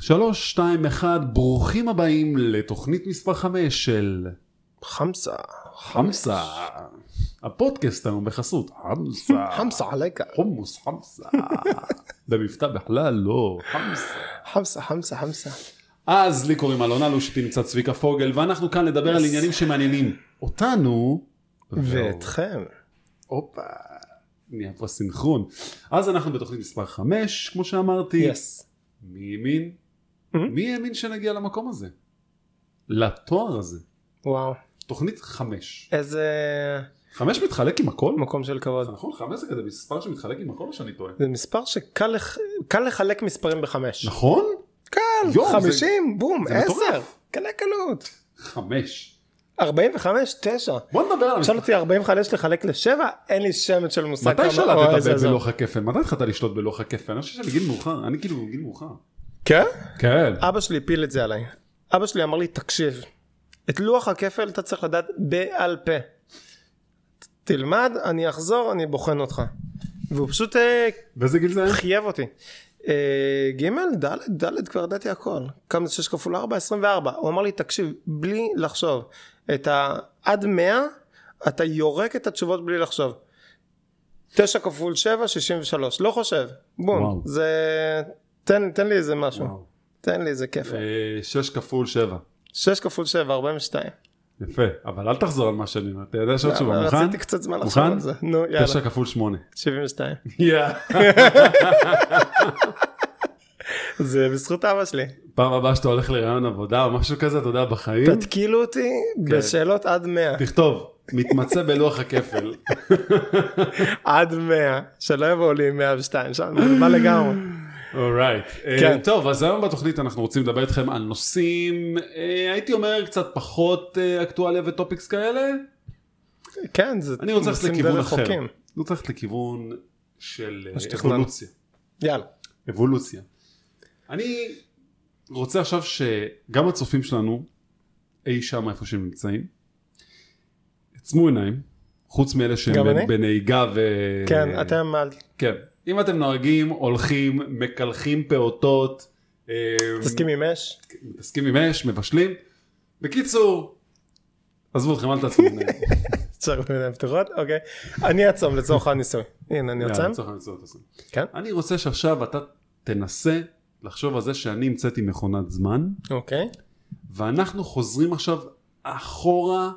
3, 2, 1, ברוכים הבאים לתוכנית מספר 5 של חמסה. חמסה. הפודקאסט היום בחסות חמסה. חמסה עליך. חומוס חמסה. במבטא בכלל לא. חמסה. חמסה, חמסה, חמסה. אז לי קוראים אלון אלוש, איתי נמצא צביקה פוגל, ואנחנו כאן לדבר על עניינים שמעניינים אותנו. ואתכם. הופה. נהיה פה סינכרון. אז אנחנו בתוכנית מספר 5, כמו שאמרתי. יס. מי האמין? Mhm. מי האמין שנגיע למקום הזה? לתואר הזה. וואו. תוכנית 5. איזה 5 מתחלק עם הכל? מקום של כבוד. נכון, 5 זה כזה מספר שמתחלק עם הכל או שאני טועה? זה מספר שקל לח- קל לחלק מספרים בחמש. נכון? קל. יואו, זה- חמישים, בום, זה עשר. מטורף. קלה קלות. 5. ארבעים וחמש, תשע. בוא נדבר על שאל המשפט. אותי 45 לחלק לשבע, אין לי שמץ של מושג מתי אוי, שלטת זה ב- זה. בלוח הכפל? מתי התחלת לשלוט בלוח הכפל? אני חושב שבגיל מאוחר, אני כאילו בגיל מאוחר. כן? כן. אבא שלי הפיל את זה עליי. אבא שלי אמר לי, תקשיב, את לוח הכפל אתה צריך לדעת בעל פה. ת- תלמד, אני אחזור, אני בוחן אותך. והוא פשוט אה, באיזה גיל זה היה? חייב אותי. אה, ג' ד' ד' כבר ידעתי הכל. כמה זה 6 כפול 4? 24. הוא אמר לי, תקשיב, בלי לחשוב. את ה... עד 100, אתה יורק את התשובות בלי לחשוב. 9 כפול 7, 63. לא חושב. וואו. בום. זה... תן, תן לי איזה משהו. וואו. תן לי איזה כיף. אה, שש כפול שבע. 6 כפול 7, 42. יפה, אבל אל תחזור על מה שאני אומר, אתה יודע שעוד לא תשובה, רציתי מוכן? קצת זמן לחשוב מוכן? על זה. נו, יאללה. תשע כפול שמונה. 72. יאה. זה בזכות אבא שלי. פעם הבאה שאתה הולך לרעיון עבודה או משהו כזה, אתה יודע, בחיים, תתקילו אותי כן. בשאלות עד 100. תכתוב, מתמצא בלוח הכפל. עד 100. שלא יבואו לי עם 102 שם, זה בא לגמרי. אורייט. כן. אה, טוב, אז היום בתוכנית אנחנו רוצים לדבר איתכם על נושאים, אה, הייתי אומר קצת פחות אה, אקטואליה וטופיקס כאלה. כן, זה... אני רוצה ללכת עושים לכיוון דרך אחר. חוקים. אני רוצה ללכת לכיוון של אה, מה שתכננו. אבולוציה. יאללה. אה, אבולוציה. אני רוצה עכשיו שגם הצופים שלנו, אי שם איפה שהם נמצאים, עצמו עיניים, חוץ מאלה גם שהם אני? בנהיגה ו... כן, אתם על... אה, כן. אם אתם נוהגים, הולכים, מקלחים פעוטות, אה, תסכים עם אש? מתעסקים עם אש, מבשלים. בקיצור, עזבו אתכם, אל תעצמו עיניים. צריך במילים פתוחות? אוקיי. אני אעצום לצורך הניסוי. הנה, אני עוצם. יאללה, צריך למצוא את זה. כן. אני רוצה שעכשיו אתה תנסה לחשוב על זה שאני המצאתי מכונת זמן. אוקיי. ואנחנו חוזרים עכשיו אחורה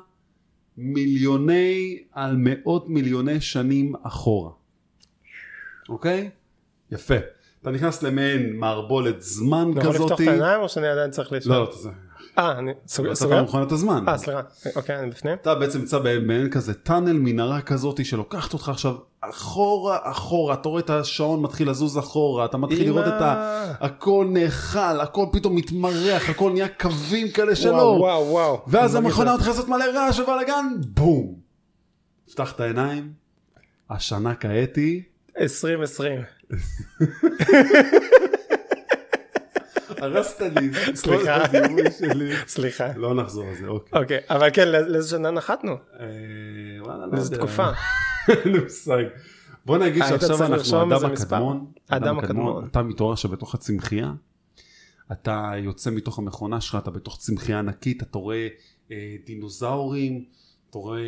מיליוני על מאות מיליוני שנים אחורה. אוקיי? יפה. אתה נכנס למעין מערבולת זמן אני יכול לפתוח כזאתי. את העיניים או שאני עדיין צריך לא, לשאול? לא, תעשה. אה, אני... סוגר? אתה סוגר? כבר מכונת הזמן. אה, סליחה. אוקיי, אני בפנים? אתה בעצם נמצא במעין כזה טאנל, מנהרה כזאתי שלוקחת אותך עכשיו אחורה אחורה, אתה רואה את השעון מתחיל לזוז אחורה, אתה מתחיל לראות את ה... הכל נאכל, הכל פתאום מתמרח, הכל נהיה קווים כאלה שלא. וואו, וואו, וואו. ואז אני לא מרגיש המכונה את זה. מתחילה לעשות מלא רעש ובלאגן, בום. פתח את העיניים, השנה כעת היא 2020. הרסת לי, זה כל סליחה. הדימוי שלי. סליחה. לא נחזור על זה, אוקיי. אוקיי, אבל כן, לא- לאיזה שנה נחתנו? אה, וואלה, לא לאיזו יודע. תקופה. אין לי מושג. בוא נגיד היית צריך שעכשיו אנחנו לרשום איזה אדם מספר. הקדמון. אדם הקדמון. אתה מתעורר עכשיו בתוך הצמחייה, אתה יוצא מתוך המכונה שלך, אתה בתוך צמחייה ענקית, אתה רואה אה, דינוזאורים, אתה רואה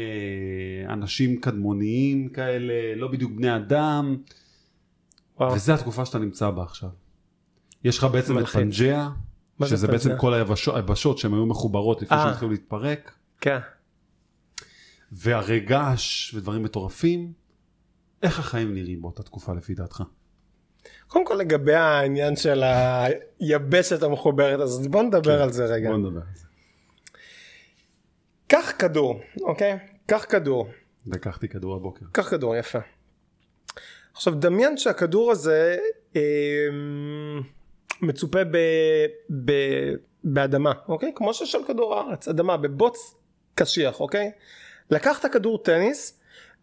אה, אנשים קדמוניים כאלה, לא בדיוק בני אדם, וואו. וזה התקופה שאתה נמצא בה עכשיו. יש לך בעצם את מלחיץ. פנג'יה, מה זה שזה בעצם פנג'ה? כל היבשו- היבשות שהן היו מחוברות לפני אה. שהן התחילו להתפרק, כן. והרי געש ודברים מטורפים. איך החיים נראים באותה תקופה לפי דעתך? קודם כל לגבי העניין של היבשת המחוברת הזאת, בוא נדבר על זה רגע. כן. בוא נדבר על זה. קח כדור, אוקיי? קח כדור. לקחתי כדור הבוקר. קח כדור, יפה. עכשיו דמיין שהכדור הזה אה, מצופה ב, ב, באדמה, אוקיי? כמו שיש על כדור הארץ, אדמה בבוץ קשיח, אוקיי? לקחת כדור טניס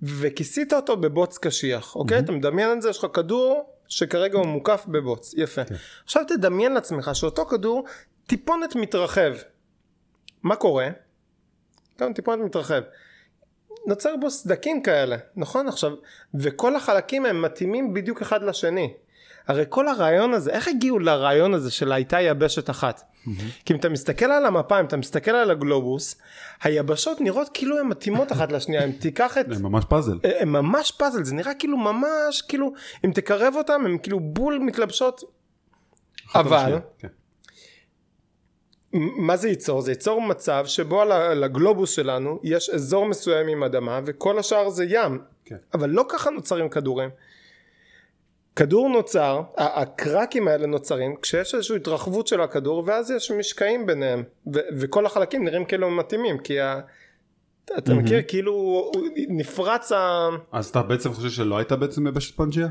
וכיסית אותו בבוץ קשיח, אוקיי? Mhm. אתה מדמיין את זה, יש לך כדור שכרגע הוא מוקף בבוץ, יפה. כן. עכשיו תדמיין לעצמך שאותו כדור טיפונת מתרחב. מה קורה? גם טיפונת מתרחב. נוצר בו סדקים כאלה, נכון? עכשיו, וכל החלקים הם מתאימים בדיוק אחד לשני. הרי כל הרעיון הזה, איך הגיעו לרעיון הזה של הייתה יבשת אחת? כי אם אתה מסתכל על המפה, אם אתה מסתכל על הגלובוס, היבשות נראות כאילו הן מתאימות אחת לשנייה, אם תיקח את... זה ממש פאזל. הם ממש פאזל, זה נראה כאילו ממש, כאילו, אם תקרב אותם, הם כאילו בול מתלבשות. אחת אבל- לשנייה, כן. מ- מה זה ייצור? זה ייצור מצב שבו על ה- על הגלובוס שלנו יש אזור מסוים עם אדמה וכל השאר זה ים. כן. אבל לא ככה נוצרים כדורים. כדור נוצר, ה- הקרקים האלה נוצרים כשיש איזושהי התרחבות של הכדור ואז יש משקעים ביניהם ו- וכל החלקים נראים כאילו הם מתאימים כי ה- אתה מהמם. מכיר כאילו הוא- נפרץ ה... אז אתה בעצם חושב שלא הייתה בעצם יבשת פנג'יה?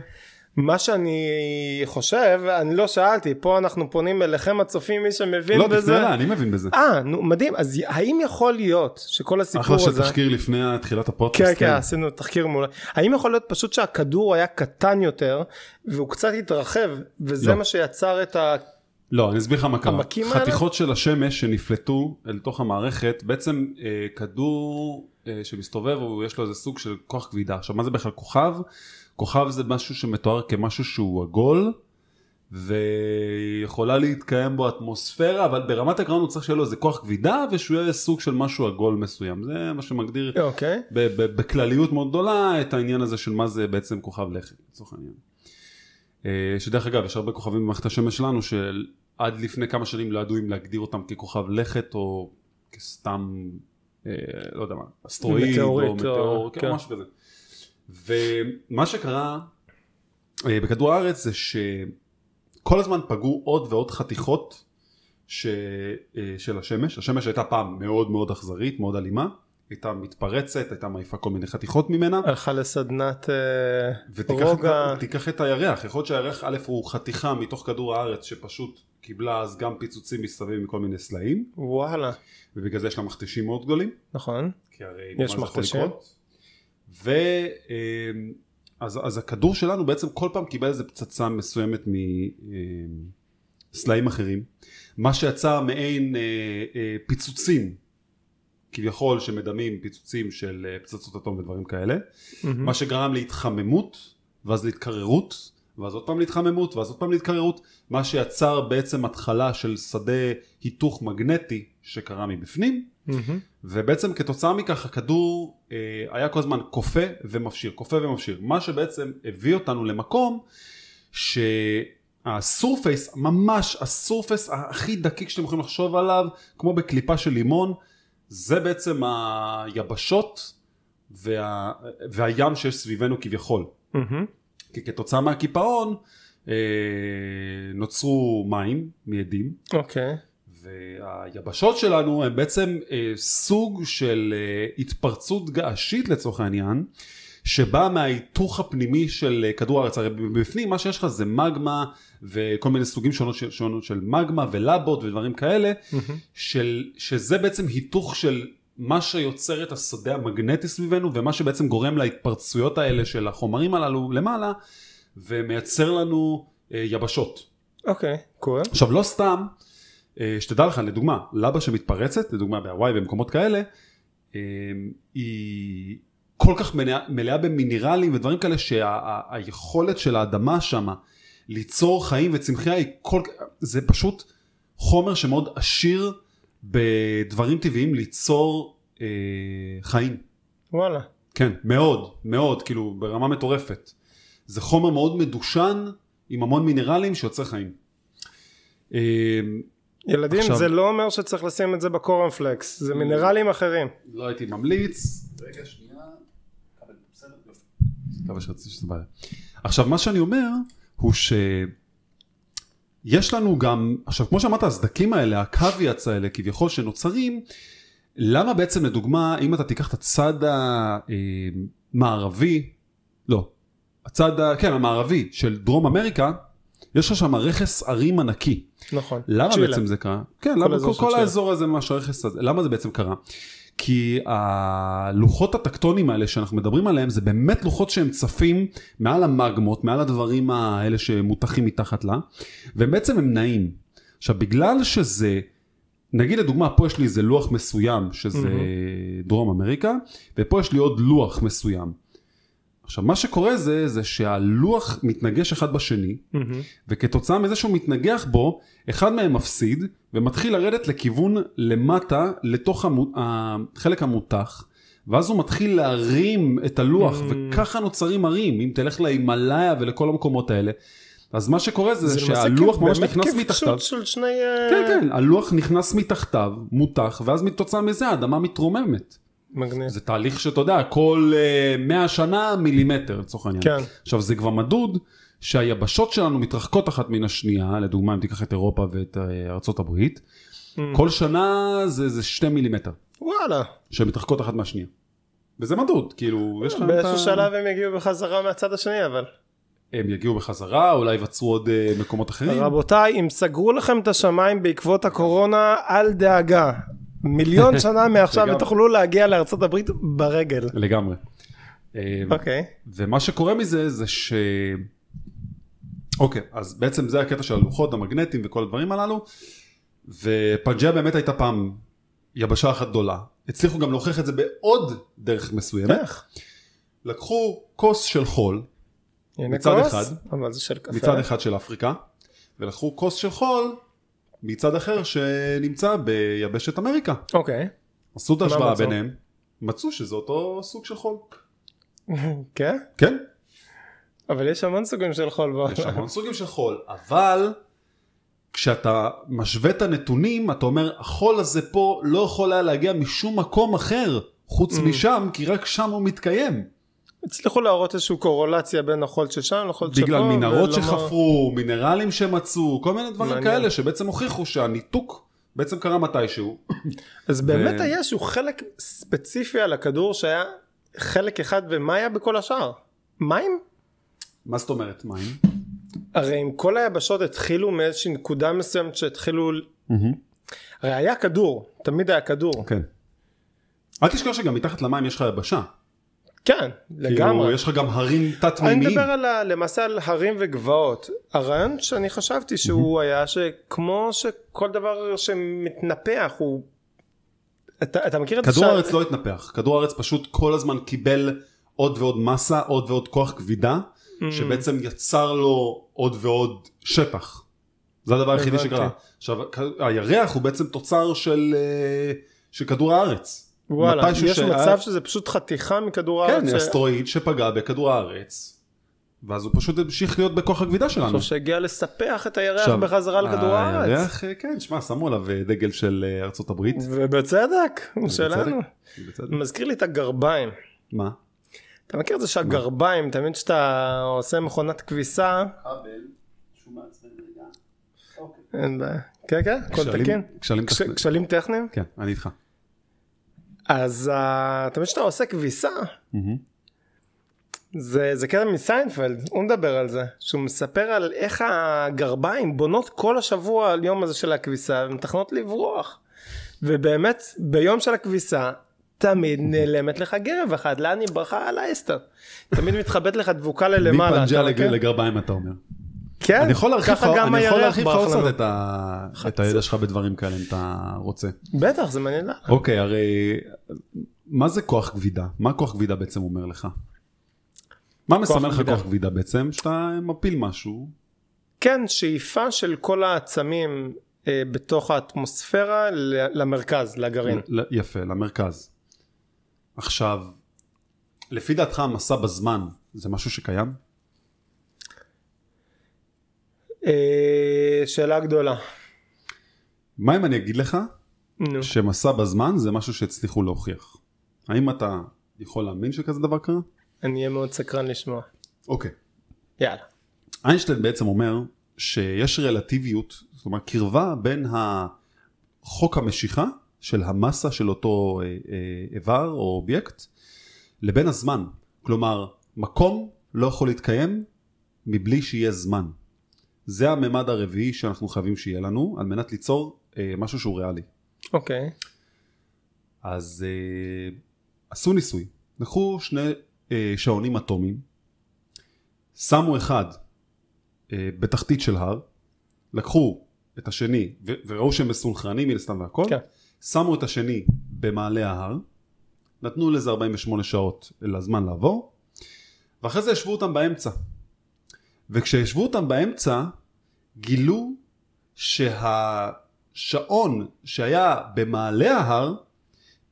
מה שאני חושב, אני לא שאלתי, פה אנחנו פונים אליכם הצופים, מי שמבין לא, בזה. תפנה לה, אני מבין בזה. אה, נו, מדהים. אז האם יכול להיות שכל אחלה הסיפור של הזה... תחקיר לפני תחילת הפודקאסט. כן, כן, עשינו תחקיר מול... האם יכול להיות פשוט שהכדור היה קטן יותר, והוא קצת התרחב, וזה לא. מה שיצר את ה... לא, אני אסביר לך מה קרה. המכים האלה? חתיכות של השמש שנפלטו אל תוך המערכת, בעצם אה, כדור אה, שמסתובב, הוא- יש לו איזה סוג של כוח כבידה. עכשיו, מה זה בכלל כוכב? כוכב זה משהו שמתואר כמשהו שהוא עגול, ויכולה להתקיים בו אטמוספירה, אבל ברמת העקרון הוא צריך שיהיה לו איזה כוח כבידה, ושהוא יהיה סוג של משהו עגול מסוים. זה מה שמגדיר אוקיי. ב- ב- בכלליות מאוד גדולה את העניין הזה של מה זה בעצם כוכב לכת לצורך העניין. אה, שדרך אגב יש הרבה כוכבים במערכת השמש שלנו שעד לפני כמה שנים לא ידעו אם להגדיר אותם ככוכב לכת או כסתם אה, לא יודע מה אסטרואיד מטאורית, או מטאור או- כן. כן. משהו כזה. ומה שקרה אה, בכדור הארץ זה שכל הזמן פגעו עוד ועוד חתיכות ש, אה, של השמש. השמש הייתה פעם מאוד מאוד אכזרית, מאוד אלימה, הייתה מתפרצת, הייתה מעיפה כל מיני חתיכות ממנה, הלכה לסדנת... אה, ותיקח רוגע. את, תיקח את הירח, יכול להיות שהירח א' הוא חתיכה מתוך כדור הארץ שפשוט קיבלה אז גם פיצוצים מסביב מכל מיני סלעים, וואלה. ובגלל זה יש לה מכתשים מאוד גדולים. נכון. כי הרי יש מה זה יכול מכתשים. לקרות? ו... אמ, אז, אז הכדור שלנו בעצם כל פעם קיבל איזה פצצה מסוימת מסלעים אחרים, מה שיצר מעין אה, אה, פיצוצים, כביכול שמדמים פיצוצים של אה, פצצות אטום ודברים כאלה, מהמם. מה שגרם להתחממות, ואז להתקררות, ואז עוד פעם להתחממות, ואז עוד פעם להתקררות, מה שיצר בעצם התחלה של שדה היתוך מגנטי שקרה מבפנים, מהמם. ובעצם כתוצאה מכך הכדור אה, היה כל הזמן כופה ומפשיר, כופה ומפשיר, מה שבעצם הביא אותנו למקום שהסורפייס, ממש הסורפייס הכי דקיק שאתם יכולים לחשוב עליו, כמו בקליפה של לימון, זה בעצם היבשות וה, והים שיש סביבנו כביכול. מהמם. כי כתוצאה מהקיפאון אה, נוצרו מים מאדים, אוקיי. והיבשות שלנו הם בעצם אה, סוג של אה, התפרצות געשית לצורך העניין, שבאה מההיתוך הפנימי של אה, כדור הארץ. הרי בפנים מה שיש לך זה מגמה וכל מיני סוגים שונות של, שונות של מגמה ולבות ודברים כאלה, מהמם. של, שזה בעצם היתוך של מה שיוצר את השדה המגנטי סביבנו ומה שבעצם גורם להתפרצויות האלה של החומרים הללו למעלה ומייצר לנו אה, יבשות. אוקיי. קורה. עכשיו לא סתם, אה, שתדע לך, לדוגמה, לבה שמתפרצת, לדוגמה בהוואי במקומות כאלה, אה, היא כל כך מלאה, מלאה במינרלים ודברים כאלה שהיכולת של האדמה שמה ליצור חיים וצמחייה היא כל כך, זה פשוט חומר שמאוד עשיר בדברים טבעיים ליצור אה, חיים. וואלה. כן, מאוד, מאוד, כאילו ברמה מטורפת. זה חומר מאוד מדושן עם המון מינרלים שיוצר חיים. אה, ילדים, עכשיו- זה לא אומר שצריך לשים את זה בקורנפלקס, זה מינרלים אחרים. לא הייתי ממליץ. רגע, שנייה. מקווה שרציתי שזה בעיה. עכשיו, מה שאני אומר הוא ש... יש לנו גם, עכשיו כמו שאמרת, הסדקים האלה, הקוויאץ האלה כביכול שנוצרים, למה בעצם לדוגמה, אם אתה תיקח את הצד המערבי, לא, הצד, ה- כן, המערבי של דרום אמריקה, יש לך שם רכס ערים ענקי. נכון. למה צ'ילה. בעצם זה קרה? כן, למה האזור כל, של כל צ'ילה. האזור הזה, ממש הרכס הזה, למה זה בעצם קרה? כי הלוחות הטקטונים האלה שאנחנו מדברים עליהם, זה באמת לוחות שהם צפים מעל המגמות, מעל הדברים האלה שמותחים מתחת לה, והם בעצם הם נעים. עכשיו, בגלל שזה, נגיד לדוגמה, פה יש לי איזה לוח מסוים, שזה דרום אמריקה, ופה יש לי עוד לוח מסוים. עכשיו מה שקורה זה, זה שהלוח מתנגש אחד בשני, Mm-hmm. וכתוצאה מזה שהוא מתנגח בו, אחד מהם מפסיד, ומתחיל לרדת לכיוון למטה, לתוך המו- החלק המותח, ואז הוא מתחיל להרים את הלוח, Mm. וככה נוצרים הרים, אם תלך להימאליה ולכל המקומות האלה. אז מה שקורה זה, זה למעשה שהלוח כאילו ממש באמת נכנס כפשוט מתחתיו. של שני... אה, כן, כן, הלוח נכנס מתחתיו, מותח, ואז מתוצאה מזה האדמה מתרוממת. מגניב. זה תהליך שאתה יודע, כל אה, 100 שנה מילימטר לצורך העניין. כן. עכשיו זה כבר מדוד שהיבשות שלנו מתרחקות אחת מן השנייה, לדוגמה אם תיקח את אירופה ואת אה, ארצות הברית, Mm. כל שנה זה, זה 2 מילימטר וואלה. שמתרחקות אחת מהשנייה. וזה מדוד, כאילו, יש לך... את Mm, באיזשהו ה- שלב הם יגיעו בחזרה מהצד השני אבל. הם יגיעו בחזרה, אולי יווצרו עוד אה, מקומות אחרים. רבותיי, אם סגרו לכם את השמיים בעקבות הקורונה, אל דאגה. מיליון שנה מעכשיו לגמרי. ותוכלו להגיע לארצות הברית ברגל. לגמרי. אה, אוקיי. ומה שקורה מזה זה ש... אוקיי, אז בעצם זה הקטע של הלוחות, המגנטים וכל הדברים הללו. ופנג'יה באמת הייתה פעם יבשה אחת גדולה. הצליחו גם להוכיח את זה בעוד דרך מסוימת. איך? לקחו כוס של חול, הנה מצד כוס, אחד. אבל זה של קפה. מצד אחד של אפריקה, ולקחו כוס של חול מצד אחר שנמצא ביבשת אמריקה. אוקיי. עשו את מה ההשוואה מצאו? ביניהם, מצאו שזה אותו סוג של חול. כן? כן, אבל יש המון סוגים של חול יש בעולם. המון סוגים של חול, אבל כשאתה משווה את הנתונים, אתה אומר, החול הזה פה לא יכול היה להגיע משום מקום אחר חוץ Mm. משם, כי רק שם הוא מתקיים. הצליחו להראות איזושהי קורולציה בין החול ששם לחול שפה. בגלל מנהרות ולמה- שחפרו, מינרלים שמצאו, כל מיני דברים מעניין. כאלה שבעצם הוכיחו שהניתוק בעצם קרה מתישהו. אז באמת ו- היה איזשהו חלק ספציפי על הכדור שהיה חלק אחד, ומה היה בכל השאר? מים? מה זאת אומרת מים? הרי אם כל היבשות התחילו מאיזושהי נקודה מסוימת שהתחילו... הרי היה כדור, תמיד היה כדור. כן. אל תשכח שגם מתחת למים יש לך יבשה. כן, כאילו, לגמרי. יש לך גם הרים אני תת-מימיים. מדבר על ה, למעשה על הרים וגבעות. הרעיון שאני חשבתי שהוא היה שכמו שכל דבר שמתנפח הוא... אתה, אתה מכיר את כדור שה- הארץ לא התנפח, כדור הארץ פשוט כל הזמן קיבל עוד ועוד מסה, עוד ועוד כוח כבידה, Mm. שבעצם יצר לו עוד ועוד שטח. זה הדבר היחידי הבנתי. שקרה. עכשיו, כ- הירח הוא בעצם תוצר של, אה, של כדור הארץ. וואלה, מתישהו יש שהיה- מצב שזה פשוט חתיכה מכדור הארץ. כן, ש- אסטרואיד שפגע בכדור הארץ, ואז הוא פשוט המשיך להיות בכוח הכבידה שלנו. עכשיו שהגיע לספח את הירח עכשיו, בחזרה לכדור הארץ. הירח, אה, כן, שמע, שמו עליו אה, דגל של אה, ארצות הברית. ובצדק, הוא שלנו. בצדק. מזכיר לי את הגרביים. מה? אתה מכיר את זה שהגרביים, תמיד כשאתה עושה מכונת כביסה, כבל, שהוא מעצבן רגע. אוקיי. אין בעיה. כן, כן, הכל כשלים- תקין. כשלים כש- טכניים. כשלים טכניים. כן, אני איתך. אז אה, תמיד כשאתה עושה כביסה, זה זה קטע מסיינפלד, הוא מדבר על זה, שהוא מספר על איך הגרביים בונות כל השבוע על יום הזה של הכביסה ומתכנות לברוח. ובאמת, ביום של הכביסה, תמיד נעלמת לך גרב אחת, לאן היא ברחה? על האסתר. תמיד מתחבאת לך דבוקה ללמעלה. מפנג'ה אתה מכיר? לג- לגרביים אתה אומר. כן, אני יכול להרחיב לך ככה גם אני יכול הירח להרחיב לך ברח עוד לנו. קצת את ה- את הידע שלך בדברים כאלה אם אתה רוצה. בטח, זה מעניין. לה. אוקיי, הרי מה זה כוח כבידה? מה כוח כבידה בעצם אומר לך? מה מסמל לך כבידה. כוח כבידה בעצם? שאתה מפיל משהו. כן, שאיפה של כל העצמים אה, בתוך האטמוספירה ל- למרכז, לגרעין. ל- ל- יפה, למרכז. עכשיו, לפי דעתך המסע בזמן זה משהו שקיים? אה, שאלה גדולה. מה אם אני אגיד לך נו. שמסע בזמן זה משהו שהצליחו להוכיח. האם אתה יכול להאמין שכזה דבר קרה? אני אהיה מאוד סקרן לשמוע. אוקיי. יאללה. איינשטיין בעצם אומר שיש רלטיביות, זאת אומרת קרבה בין חוק המשיכה של המסה של אותו אה, אה, איבר או אובייקט לבין הזמן. כלומר, מקום לא יכול להתקיים מבלי שיהיה זמן. זה הממד הרביעי שאנחנו חייבים שיהיה לנו על מנת ליצור אה, משהו שהוא ריאלי. אוקיי. אז אה, עשו ניסוי, לקחו שני אה, שעונים אטומיים, שמו אחד אה, בתחתית של הר, לקחו את השני ו- וראו שהם מסונכרנים מן הסתם והכל, כן. שמו את השני במעלה ההר, נתנו לזה 48 שעות לזמן לעבור, ואחרי זה ישבו אותם באמצע. וכשישבו אותם באמצע, גילו שהשעון שהיה במעלה ההר,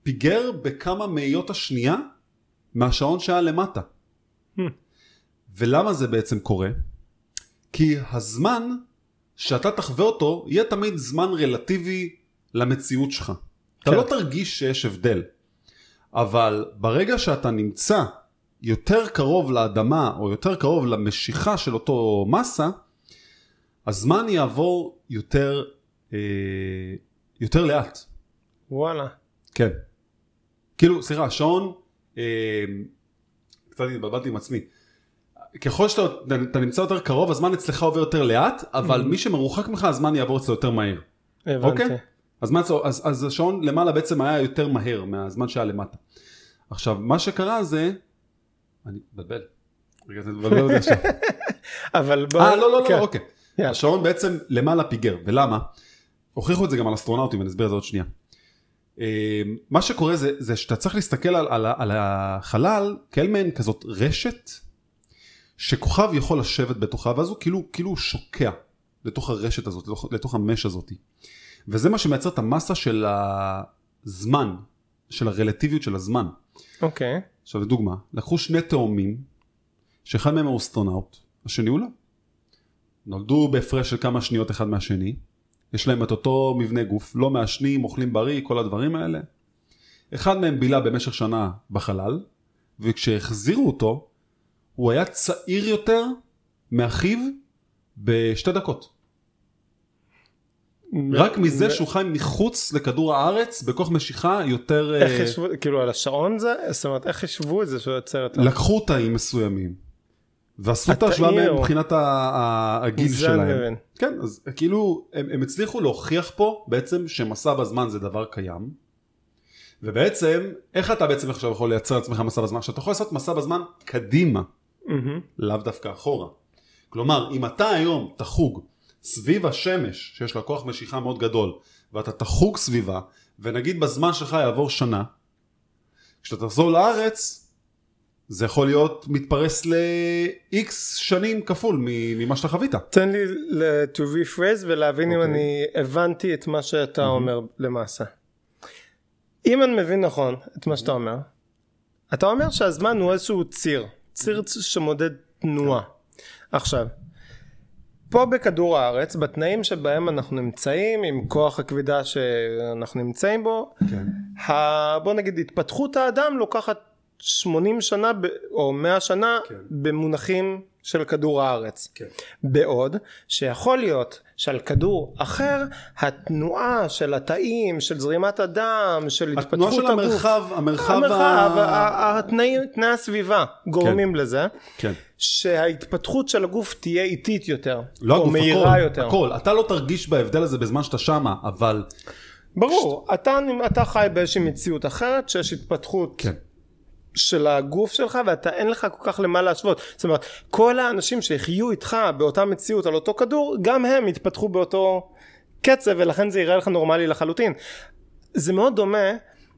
פיגר בכמה מאיות השנייה מהשעון שהיה למטה. Hmm. ולמה זה בעצם קורה? כי הזמן שאתה תחווה אותו יהיה תמיד זמן רלטיבי למציאות שלך. אתה כן. לא תרגיש שיש הבדל. אבל ברגע שאתה נמצא יותר קרוב לאדמה או יותר קרוב למשיכה של אותו מסה, הזמן יעבור יותר, אה, יותר לאט. וואלה. כן. כאילו, סליחה, השעון, אה, קצת התבלבלתי עם עצמי. ככל שאתה אתה נמצא יותר קרוב, הזמן אצלך עובר יותר לאט, אבל מי שמרוחק ממך, הזמן יעבור אצלו יותר מהר. הבנתי. אוקיי? אז, מה, זה- אז, אז השעון למעלה בעצם היה יותר מהר מהזמן שהיה למטה. עכשיו, מה שקרה זה... אני מתבלבל. רגע, זה מבלבל אותי עכשיו. אבל בוא... אה, לא, לא, לא, כן. לא, אוקיי. יאללה. השעון בעצם למעלה פיגר, ולמה? הוכיחו את זה גם על אסטרונאוטים, אני אסביר את זה עוד שנייה. אה, מה שקורה זה, זה שאתה צריך להסתכל על, על, ה- על החלל כאל מעין כזאת רשת, שכוכב יכול לשבת בתוכה, ואז הוא כאילו, כאילו הוא שוקע לתוך הרשת הזאת, לתוך, לתוך המש הזאת. וזה מה שמייצר את המסה של הזמן, של הרלטיביות של הזמן. אוקיי. עכשיו לדוגמה, לקחו שני תאומים, שאחד מהם הוא אסטרונאוט, השני הוא לא. נולדו בהפרש של כמה שניות אחד מהשני, יש להם את אותו מבנה גוף, לא מעשנים, אוכלים בריא, כל הדברים האלה. אחד מהם בילה במשך שנה בחלל, וכשהחזירו אותו, הוא היה צעיר יותר מאחיו בשתי דקות. רק אה, מזה שהוא חי מחוץ לכדור הארץ, בכוח משיכה יותר... איך אה, ישבו, כאילו על השעון זה? זאת אומרת, איך ישבו את זה שהוא יוצר את ה... לקחו תאים מסוימים ועשו את התאים ההשוואה מהם או- מבחינת ה- ה- הגיל זה אני שלהם. מבין. כן, אז כאילו הם, הם הצליחו להוכיח פה בעצם שמסע בזמן זה דבר קיים. ובעצם, איך אתה בעצם עכשיו יכול לייצר לעצמך מסע בזמן? שאתה יכול לעשות מסע בזמן קדימה, מהמם. לאו דווקא אחורה. כלומר, אם אתה היום תחוג סביב השמש, שיש לה כוח משיכה מאוד גדול, ואתה תחוג סביבה, ונגיד בזמן שלך יעבור שנה, כשאתה תחזור לארץ, זה יכול להיות מתפרס ל-X שנים כפול מ- ממה שאתה חווית. תן לי ל- to rephrase ולהבין אם אוקיי. אני הבנתי את מה שאתה מהמם. אומר למעשה. אם אני מבין נכון את מה שאתה אומר, אתה אומר שהזמן הוא איזשהו ציר, ציר צ- שמודד תנועה. כן. עכשיו, פה בכדור הארץ, בתנאים שבהם אנחנו נמצאים, עם כוח הכבידה שאנחנו נמצאים בו, כן. ה... בוא נגיד התפתחות האדם לוקחת 80 שנה ב... או 100 שנה כן. במונחים של כדור הארץ. כן. בעוד שיכול להיות שעל כדור אחר התנועה של התאים, של זרימת הדם, של התנועה התפתחות של הגוף, המרחב, המרחב, המרחב, ה- ה... ה- התנאים, תנאי הסביבה גורמים לזה כן. שההתפתחות של הגוף תהיה איטית יותר, לא או הגוף, מהירה הכל, יותר. הכל. אתה לא תרגיש בהבדל הזה בזמן שאתה שמה, אבל... ברור, אתה, אתה חי באיזושהי מציאות אחרת שיש התפתחות כן. של הגוף שלך ואתה אין לך כל כך למה להשוות. זאת אומרת, כל האנשים שהחיו איתך באותה מציאות על אותו כדור, גם הם התפתחו באותו קצב ולכן זה יראה לך נורמלי לחלוטין. זה מאוד דומה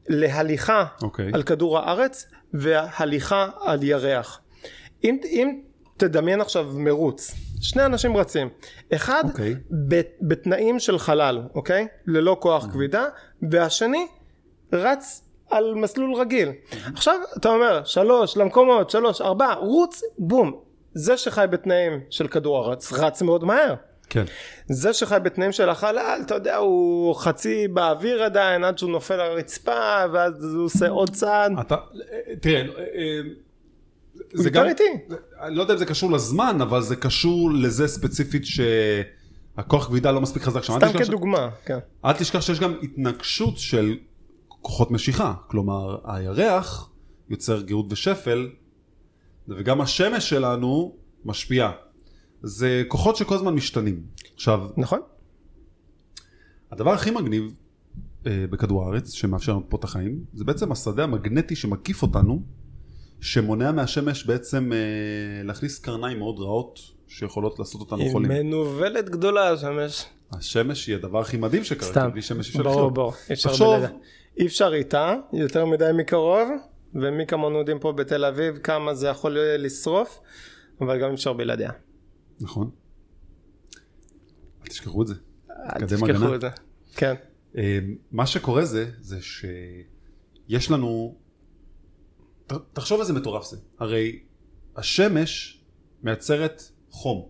להליכה אוקיי. על כדור הארץ והליכה על ירח. אם, אם תדמיין עכשיו מרוץ, שני אנשים רצים, אחד אוקיי. ב, בתנאים של חלל, אוקיי? ללא Mm-hmm. כוח כבידה, והשני רץ על מסלול רגיל. Mm-hmm. עכשיו אתה אומר שלוש למקומות, שלוש, ארבע, רוץ, בום. זה שחי בתנאים של כדור הארץ רץ מאוד מהר. כן. זה שחי בתנאים של החלל, אתה יודע, הוא חצי באוויר עדיין עד שהוא נופל על הרצפה, ואז הוא עושה עוד צעד. אתה, תראה, אה, אה, הוא זה יותר גם, איטי. אני לא יודע אם זה קשור לזמן, אבל זה קשור לזה ספציפית שהכוח כבידה לא מספיק חזק שם. אל סתם תשכח ש- כדוגמה, כן. אל תשכח שיש גם התנגשות של כוחות משיכה, כלומר הירח יוצר גירות ושפל, וגם השמש שלנו משפיעה. זה כוחות שכל הזמן משתנים. עכשיו, נכון? הדבר הכי מגניב אה, בכדור הארץ, שמאפשר לנו פה את החיים, זה בעצם השדה המגנטי שמקיף אותנו, שמונע מהשמש בעצם אה, להכניס קרניים מאוד רעות, שיכולות לעשות אותנו היא חולים. מנוולת גדולה השמש. השמש היא הדבר הכי מדהים שקרה, כי סתם. בלי שמש אי אפשר ברור, לחיות. ברור. אי אפשר תחשוב, בלעדה. אי אפשר איתה, יותר מדי מקרוב. ומי כמונו יודעים פה בתל אביב כמה זה יכול לשרוף, אבל גם אי אפשר בלעדיה. נכון. אל תשכחו את זה. אל תקדם תשכחו הגנה. את זה. כן. אה, מה שקורה זה, זה שיש לנו... ת- תחשוב איזה מטורף זה. הרי השמש מייצרת חום.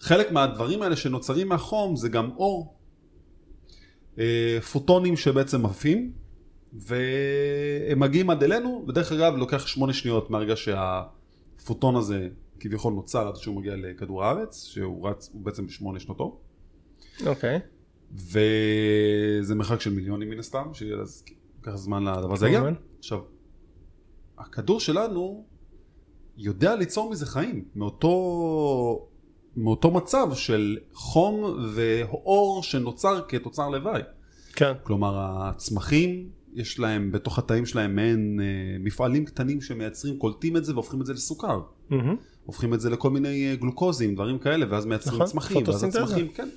חלק מהדברים האלה שנוצרים מהחום זה גם אור. אה, פוטונים שבעצם עפים, והם מגיעים עד אלינו, ודרך אגב לוקח שמונה שניות מהרגע שהפוטון הזה כביכול נוצר עד שהוא מגיע לכדור הארץ, שהוא רץ, הוא בעצם בשמונה שנות אור. אוקיי. וזה מרחק של מיליונים מן הסתם, שאז ייקח זמן לדבר הזה יגיע. כמובן. עכשיו, הכדור שלנו יודע ליצור מזה חיים, מאותו, מאותו מצב של חום ואור שנוצר כתוצר לוואי. כן. כלומר, הצמחים, יש להם בתוך התאים שלהם מעין אה, מפעלים קטנים שמייצרים, קולטים את זה והופכים את זה לסוכר. מהמם. הופכים את זה לכל מיני אה, גלוקוזים, דברים כאלה, ואז מייצרים נכון, צמחים, ואז פוטוסינתזה. הצמחים, כן.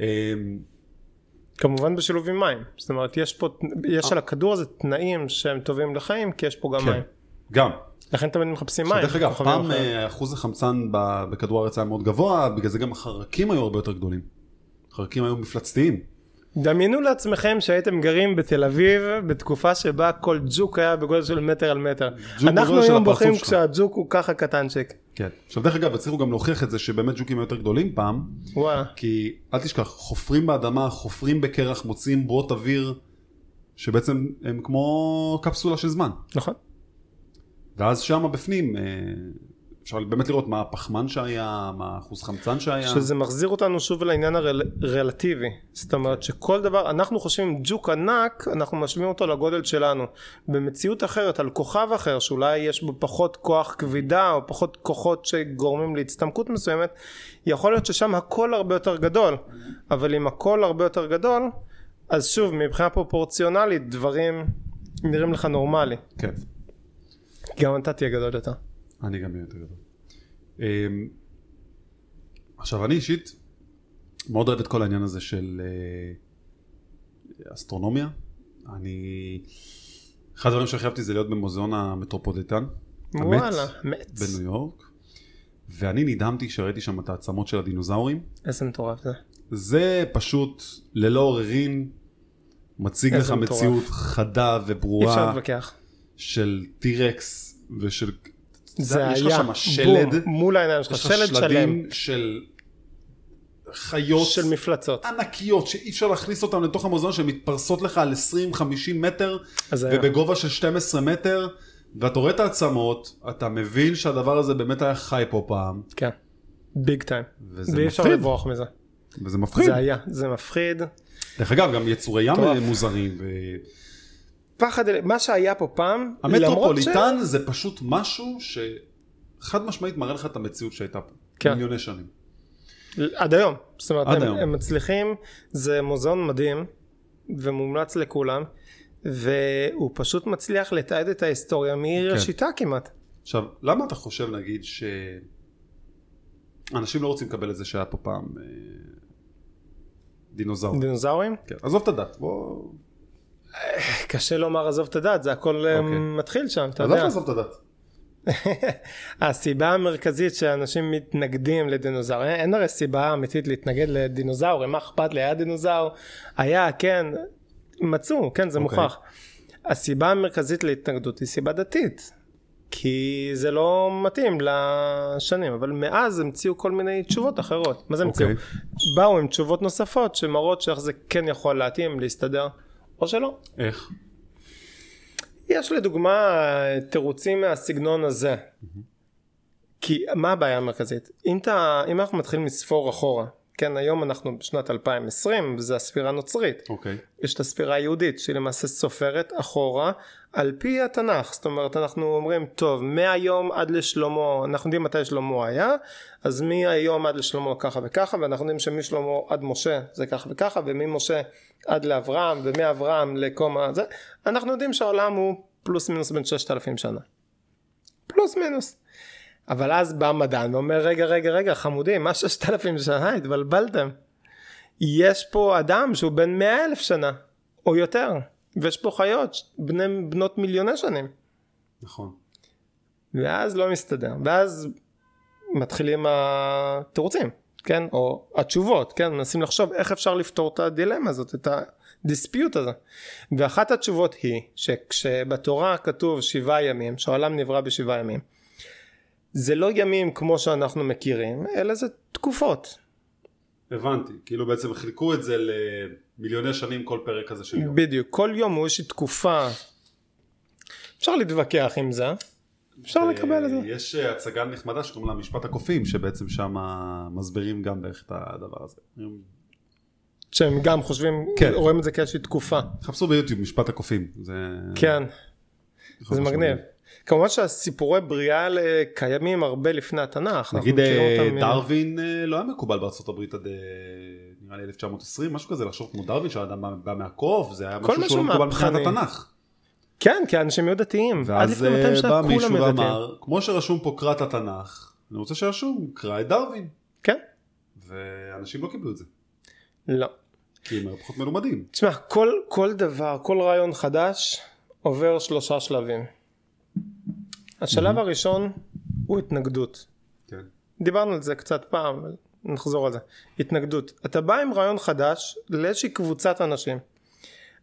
אה, כמובן בשילוב עם מים. זאת אומרת, יש פה, יש על הכדור הזה תנאים שהם טובים לחיים, כי יש פה גם אה. כן. מים. גם. לכן תמיד מחפשים מים. מים. דרך אגב, כוכבים פעם אחרים. אה, אחוז החמצן ב- בכדור הארץ היה מאוד גבוה, בגלל זה גם החרקים היו הרבה יותר גדולים. החרקים היו מפלצתיים. דמיינו לעצמכם שהייתם גרים בתל אביב בתקופה שבה כל ג'וק היה בגודל של מטר על מטר. ג'וק אנחנו בגודל לא של היום הפרצוף בוכים שלך. כשהג'וק הוא ככה קטנצ'יק. כן. עכשיו דרך אגב, הצליחו גם להוכיח את זה שבאמת ג'וקים היו יותר גדולים פעם, וואלה. כי אל תשכח, חופרים באדמה, חופרים בקרח, מוצאים בועות אוויר, שבעצם הם כמו קפסולה של זמן. נכון. ואז שם בפנים, אה, אפשר באמת לראות מה הפחמן שהיה, מה אחוז חמצן שהיה. שזה מחזיר אותנו שוב לעניין הרלטיבי. זאת אומרת שכל דבר, אנחנו חושבים ג'וק ענק, אנחנו משווים אותו לגודל שלנו. במציאות אחרת, על כוכב אחר, שאולי יש בו פחות כוח כבידה, או פחות כוחות שגורמים להצטמקות מסוימת, יכול להיות ששם הכל הרבה יותר גדול. אבל אם הכל הרבה יותר גדול, אז שוב, מבחינה פרופורציונלית, דברים נראים לך נורמלי. כן. גם אתה תהיה גדול יותר. אני גם אהיה יותר גדול. אמ, עכשיו, אני אישית מאוד אוהב את כל העניין הזה של אה, אסטרונומיה. אני... אחד הדברים שהכי אהבתי זה להיות במוזיאון המטרופוליטן. המט וואלה, מאץ. בניו יורק. ואני נדהמתי כשראיתי שם את העצמות של הדינוזאורים. איזה מטורף זה. זה פשוט ללא עוררין מציג איזה לך מטורף. מציאות חדה אי אפשר וברורה להתווכח. של טירקס ושל זה יש לך היה שם שלד. בום, מול העיניים שלך, יש לך שלד שלם שלדים של חיות של מפלצות. ענקיות שאי אפשר להכניס אותן לתוך המוזיאון שהן מתפרסות לך על 20-50 מטר אז היה. ובגובה של 12 מטר ואתה רואה את העצמות אתה מבין שהדבר הזה באמת היה חי פה פעם כן. ביג טיים. וזה ואי אפשר מפחיד לברוח מזה. וזה מפחיד זה היה, זה מפחיד. דרך אגב גם יצורי ים מטורף. מוזרים ו... פחד, אל- מה שהיה פה פעם, למרות ש... המטרופוליטן זה פשוט משהו שחד משמעית מראה לך את המציאות שהייתה פה כן. מיליוני שנים עד היום. זאת אומרת, עד הם, היום. הם מצליחים, זה מוזיאון מדהים, ומומלץ לכולם, והוא פשוט מצליח לתעד את ההיסטוריה כן. מראשיתה כמעט. עכשיו, למה אתה חושב, נגיד, שאנשים לא רוצים לקבל את זה שהיה פה פעם אה, דינוזאור? דינוזאורים? כן, עזוב את הדת, בוא... קשה לומר עזוב את הדת, זה הכל אה, אוקיי. מתחיל שם, אתה עזוב יודע. לעזוב את הדת. הסיבה המרכזית שאנשים מתנגדים לדינוזאורים, אין הרי סיבה אמיתית להתנגד לדינוזאורים, מה אכפת לי, היה דינוזאור, היה, כן, מצאו, כן, זה אוקיי. מוכח. הסיבה המרכזית להתנגדות היא סיבה דתית, כי זה לא מתאים לשנים, אבל מאז המציאו כל מיני תשובות אחרות. מה זה המציאו? אוקיי. באו עם תשובות נוספות שמראות שאיך זה כן יכול להתאים, להסתדר, או שלא. איך? יש לדוגמה תירוצים מהסגנון הזה. כי מה הבעיה המרכזית? אם, אתה, אם אנחנו מתחילים לספור אחורה, כן היום אנחנו בשנת 2020 וזה הספירה הנוצרית, אוקיי. יש את הספירה היהודית שהיא למעשה סופרת אחורה על פי התנ"ך, זאת אומרת אנחנו אומרים טוב מהיום עד לשלמה, אנחנו יודעים מתי שלמה היה, אז מהיום עד לשלמה ככה וככה ואנחנו יודעים שמשלמה עד משה זה ככה וככה וממשה עד לאברהם ומאברהם לכל ה... זה, אנחנו יודעים שהעולם הוא פלוס מינוס בין 6,000 שנה, פלוס מינוס. אבל אז בא מדען ואומר רגע רגע רגע חמודים מה 6,000 שנה התבלבלתם יש פה אדם שהוא בן מאה אלף שנה או יותר ויש פה חיות, בני, בנות מיליוני שנים. נכון. ואז לא מסתדר, ואז מתחילים התירוצים, כן, או התשובות, כן, מנסים לחשוב איך אפשר לפתור את הדילמה הזאת, את הדיספיוט הזה. ואחת התשובות היא שכשבתורה כתוב שבעה ימים, שהעולם נברא בשבעה ימים, זה לא ימים כמו שאנחנו מכירים, אלא זה תקופות. הבנתי, כאילו בעצם חילקו את זה למיליוני שנים כל פרק כזה של יום. בדיוק, כל יום הוא איזושהי תקופה, אפשר להתווכח עם זה, אפשר אה, לקבל את זה. יש אה, הצגה נחמדה שקוראים לה משפט הקופים, שבעצם שם מסבירים גם בערך את הדבר הזה. שהם גם חושבים, כן. אה, רואים את זה כאיזושהי תקופה. חפשו ביוטיוב משפט הקופים, זה... כן, חד זה משמעי. מגניב. כמובן שהסיפורי בריאה האלה קיימים הרבה לפני התנ"ך. אנחנו נגיד מכירים אה, אותם מ- דרווין אה, לא היה מקובל בארצות הברית עד אה, נראה לי 1920, משהו כזה, לחשוב כמו דרווין שהאדם בא- בא מהקוף, זה היה משהו משהו שהוא לא מקובל מבחינת מהפכני. התנ"ך. כן, כי האנשים היו דתיים. עד ואז לפני 200 אה, שנה בא כולם מישהו היו דתיים. ואמר, כמו שרשום פה קרא את התנ"ך, אני רוצה שרשום, קרא את דרווין. כן, ואנשים לא קיבלו את זה, לא. כי הם היו פחות מלומדים. תשמע, כל, כל דבר, כל רעיון חדש עובר שלושה שלבים. השלב הראשון הוא התנגדות. כן. דיברנו על זה קצת פעם, אבל נחזור על זה. התנגדות. אתה בא עם רעיון חדש לאיזושהי קבוצת אנשים.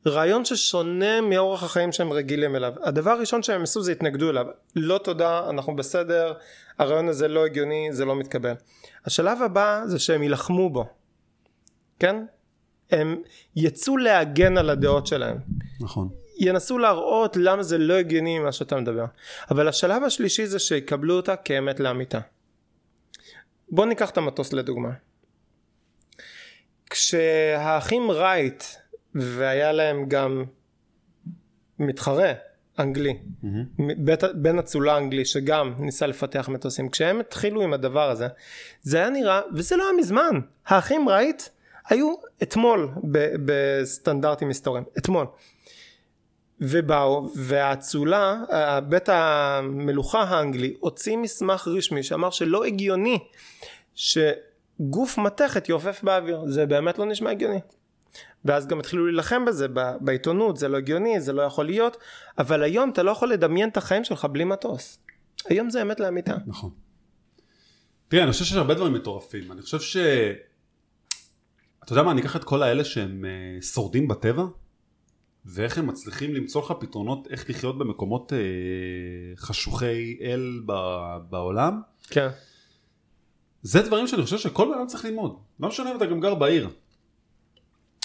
רעיון ששונה מאורח החיים שהם רגילים אליו. הדבר הראשון שהם עשו זה התנגדו אליו. לא תודה, אנחנו בסדר, הרעיון הזה לא הגיוני, זה לא מתקבל. השלב הבא זה שהם יילחמו בו. כן? הם יצאו להגן על הדעות שלהם. נכון. ינסו להראות למה זה לא הגיוני מה שאתה מדבר. אבל השלב השלישי זה שיקבלו אותה כאמת לאמיתה. בוא ניקח את המטוס לדוגמה. כשהאחים רייט והיה להם גם מתחרה אנגלי בית, בן אצולה האנגלי שגם ניסה לפתח מטוסים כשהם התחילו עם הדבר הזה זה היה נראה וזה לא היה מזמן האחים רייט היו אתמול ב- בסטנדרטים היסטוריים אתמול ובאו והאצולה ה- בית המלוכה האנגלי הוציא מסמך רשמי שאמר שלא הגיוני שגוף מתכת יעופף באוויר זה באמת לא נשמע הגיוני ואז גם התחילו להילחם בזה ב- בעיתונות זה לא הגיוני זה לא יכול להיות אבל היום אתה לא יכול לדמיין את החיים שלך בלי מטוס היום זה אמת לאמיתה נכון. תראה, אני חושב שיש הרבה דברים מטורפים. אני חושב ש... אתה יודע מה, אני אקח את כל האלה שהם אה, שורדים בטבע, ואיך הם מצליחים למצוא לך פתרונות איך לחיות במקומות אה, חשוכי אל ב- בעולם. כן זה דברים שאני חושב שכל בן אדם צריך ללמוד. לא משנה אם אתה גם גר בעיר.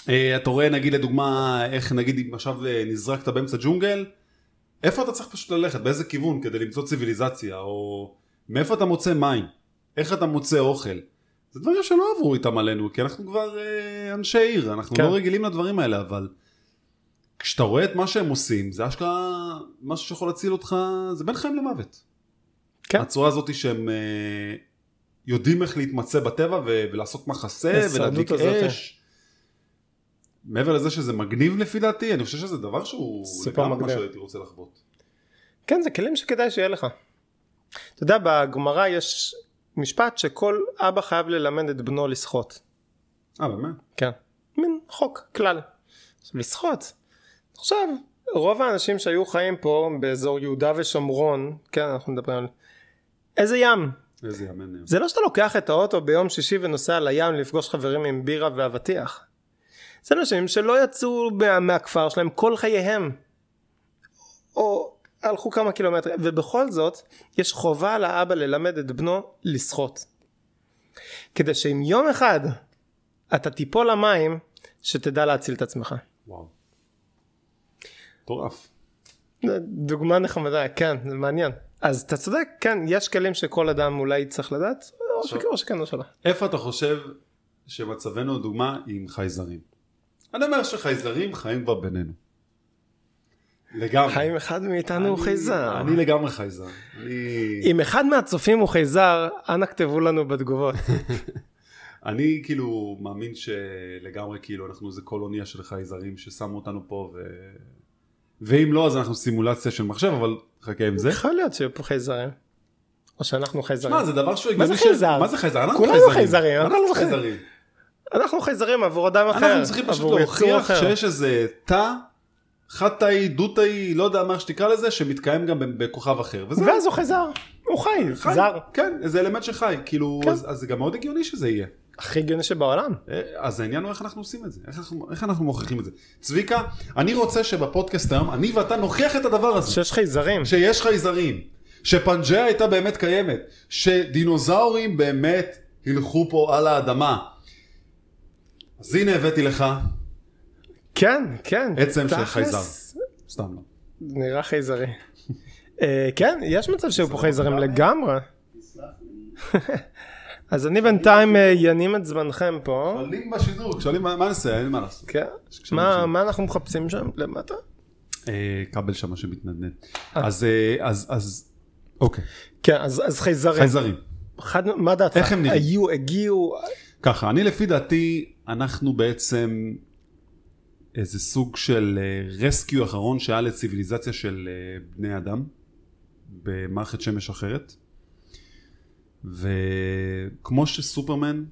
אה, אתה רואה נגיד לדוגמה איך נגיד אם עכשיו אה, נזרקת באמצע ג'ונגל, איפה אתה צריך פשוט ללכת, באיזה כיוון כדי למצוא ציוויליזציה, או מאיפה אתה מוצא מים, איך אתה מוצא אוכל. זה דברים שלא עברו איתם עלינו, כי אנחנו כבר אה, אנשי עיר, אנחנו כן. לא רגילים לדברים האלה, אבל כשאתה רואה את מה שהם עושים, זה אשכרה משהו שיכול להציל אותך, זה בין חיים למוות. כן. הצורה הזאת שהם אה, יודעים איך להתמצא בטבע ו- ולעשות מחסה ההישרדות ולהדליק הזאת. אה. אש. מעבר לזה שזה מגניב לפי דעתי, אני חושב שזה דבר שהוא סופר לגמרי מה מגניב. שהייתי רוצה לחוות. כן זה כלים שכדאי שיהיה לך אתה יודע בגמרא יש משפט שכל אבא חייב ללמד את בנו לשחות אה באמת? כן מין חוק כלל עכשיו לשחות עכשיו רוב האנשים שהיו חיים פה באזור יהודה ושומרון כן אנחנו מדברים על איזה ים איזה יאמן. אה. זה לא שאתה לוקח את האוטו ביום שישי ונוסע לים לפגוש חברים עם בירה ואבטיח. זה אנשים שלא יצאו מה- מהכפר שלהם כל חייהם. או הלכו כמה קילומטרים, ובכל זאת יש חובה על האבא ללמד את בנו לשחות. כדי שאם יום אחד אתה תיפול למים, שתדע להציל את עצמך. וואו. מטורף. זה דוגמה נחמדה, כן, זה מעניין. אז אתה צודק, כן, יש כלים שכל אדם אולי צריך לדעת, או שכן או שכן או שלא. איפה אתה חושב שמצבנו לדוגמה עם חייזרים? אני אומר שחייזרים חיים כבר בינינו. לגמרי. האם אחד מאיתנו הוא אני- חייזר? אני לגמרי חייזר. אני... אם אחד מהצופים הוא חייזר, אנא כתבו לנו בתגובות. אני כאילו מאמין שלגמרי כאילו אנחנו איזה קולוניה של חייזרים ששמו אותנו פה ו... ואם לא אז אנחנו סימולציה של מחשב אבל חכה עם זה. יכול להיות שיהיו פה חייזרים. או שאנחנו חייזרים. מה זה דבר שהוא מה זה הגיוני חייזר? מה זה חייזר? אנחנו כולנו חייזרים. חייזרים, אנחנו לא אנחנו חייזרים. אנחנו חייזרים עבור אדם אחר. אנחנו צריכים פשוט עבור יצור להוכיח אחר. שיש איזה תא חד-תאי, דו-תאי, לא יודע מה איך שתקרא לזה, שמתקיים גם בכוכב אחר. וזה ואז הוא חזר, הוא חי, חי. זר. כן, זה אלמנט שחי. כאילו, כן. אז אז זה גם מאוד הגיוני שזה יהיה. הכי הגיוני שבעולם. אה, אז העניין הוא איך אנחנו עושים את זה, איך אנחנו, איך אנחנו מוכיחים את זה. צביקה, אני רוצה שבפודקאסט היום, אני ואתה נוכיח את הדבר הזה. שיש חייזרים. שיש חייזרים, שפנג'ה הייתה באמת קיימת, שדינוזאורים באמת הילכו פה על האדמה. אז הנה הבאתי לך, כן, כן. עצם של תכלס, חייזר. סתם לא. נראה חייזרי. אה, כן, יש מצב שהיו פה לא חייזרים לגמרי. אז אני בינתיים אה, ינים את זמנכם פה. כשלים בשידור, כשלים, מה מה נעשה, אין מה לעשות. כן. כשלים מה בשידור. מה אנחנו מחפשים שם למטה? אה, כבל שם שמתנדנד. אז, אה, אז, אז, אוקיי, כן, אז אז חייזרים. חייזרים. חד- מה דעתך? איך הם נראים? היו, הגיעו, ככה, אני לפי דעתי, אנחנו בעצם איזה סוג של אה, רסקיו אחרון שהיה לציוויליזציה של אה, בני אדם במערכת שמש אחרת. וכמו שסופרמן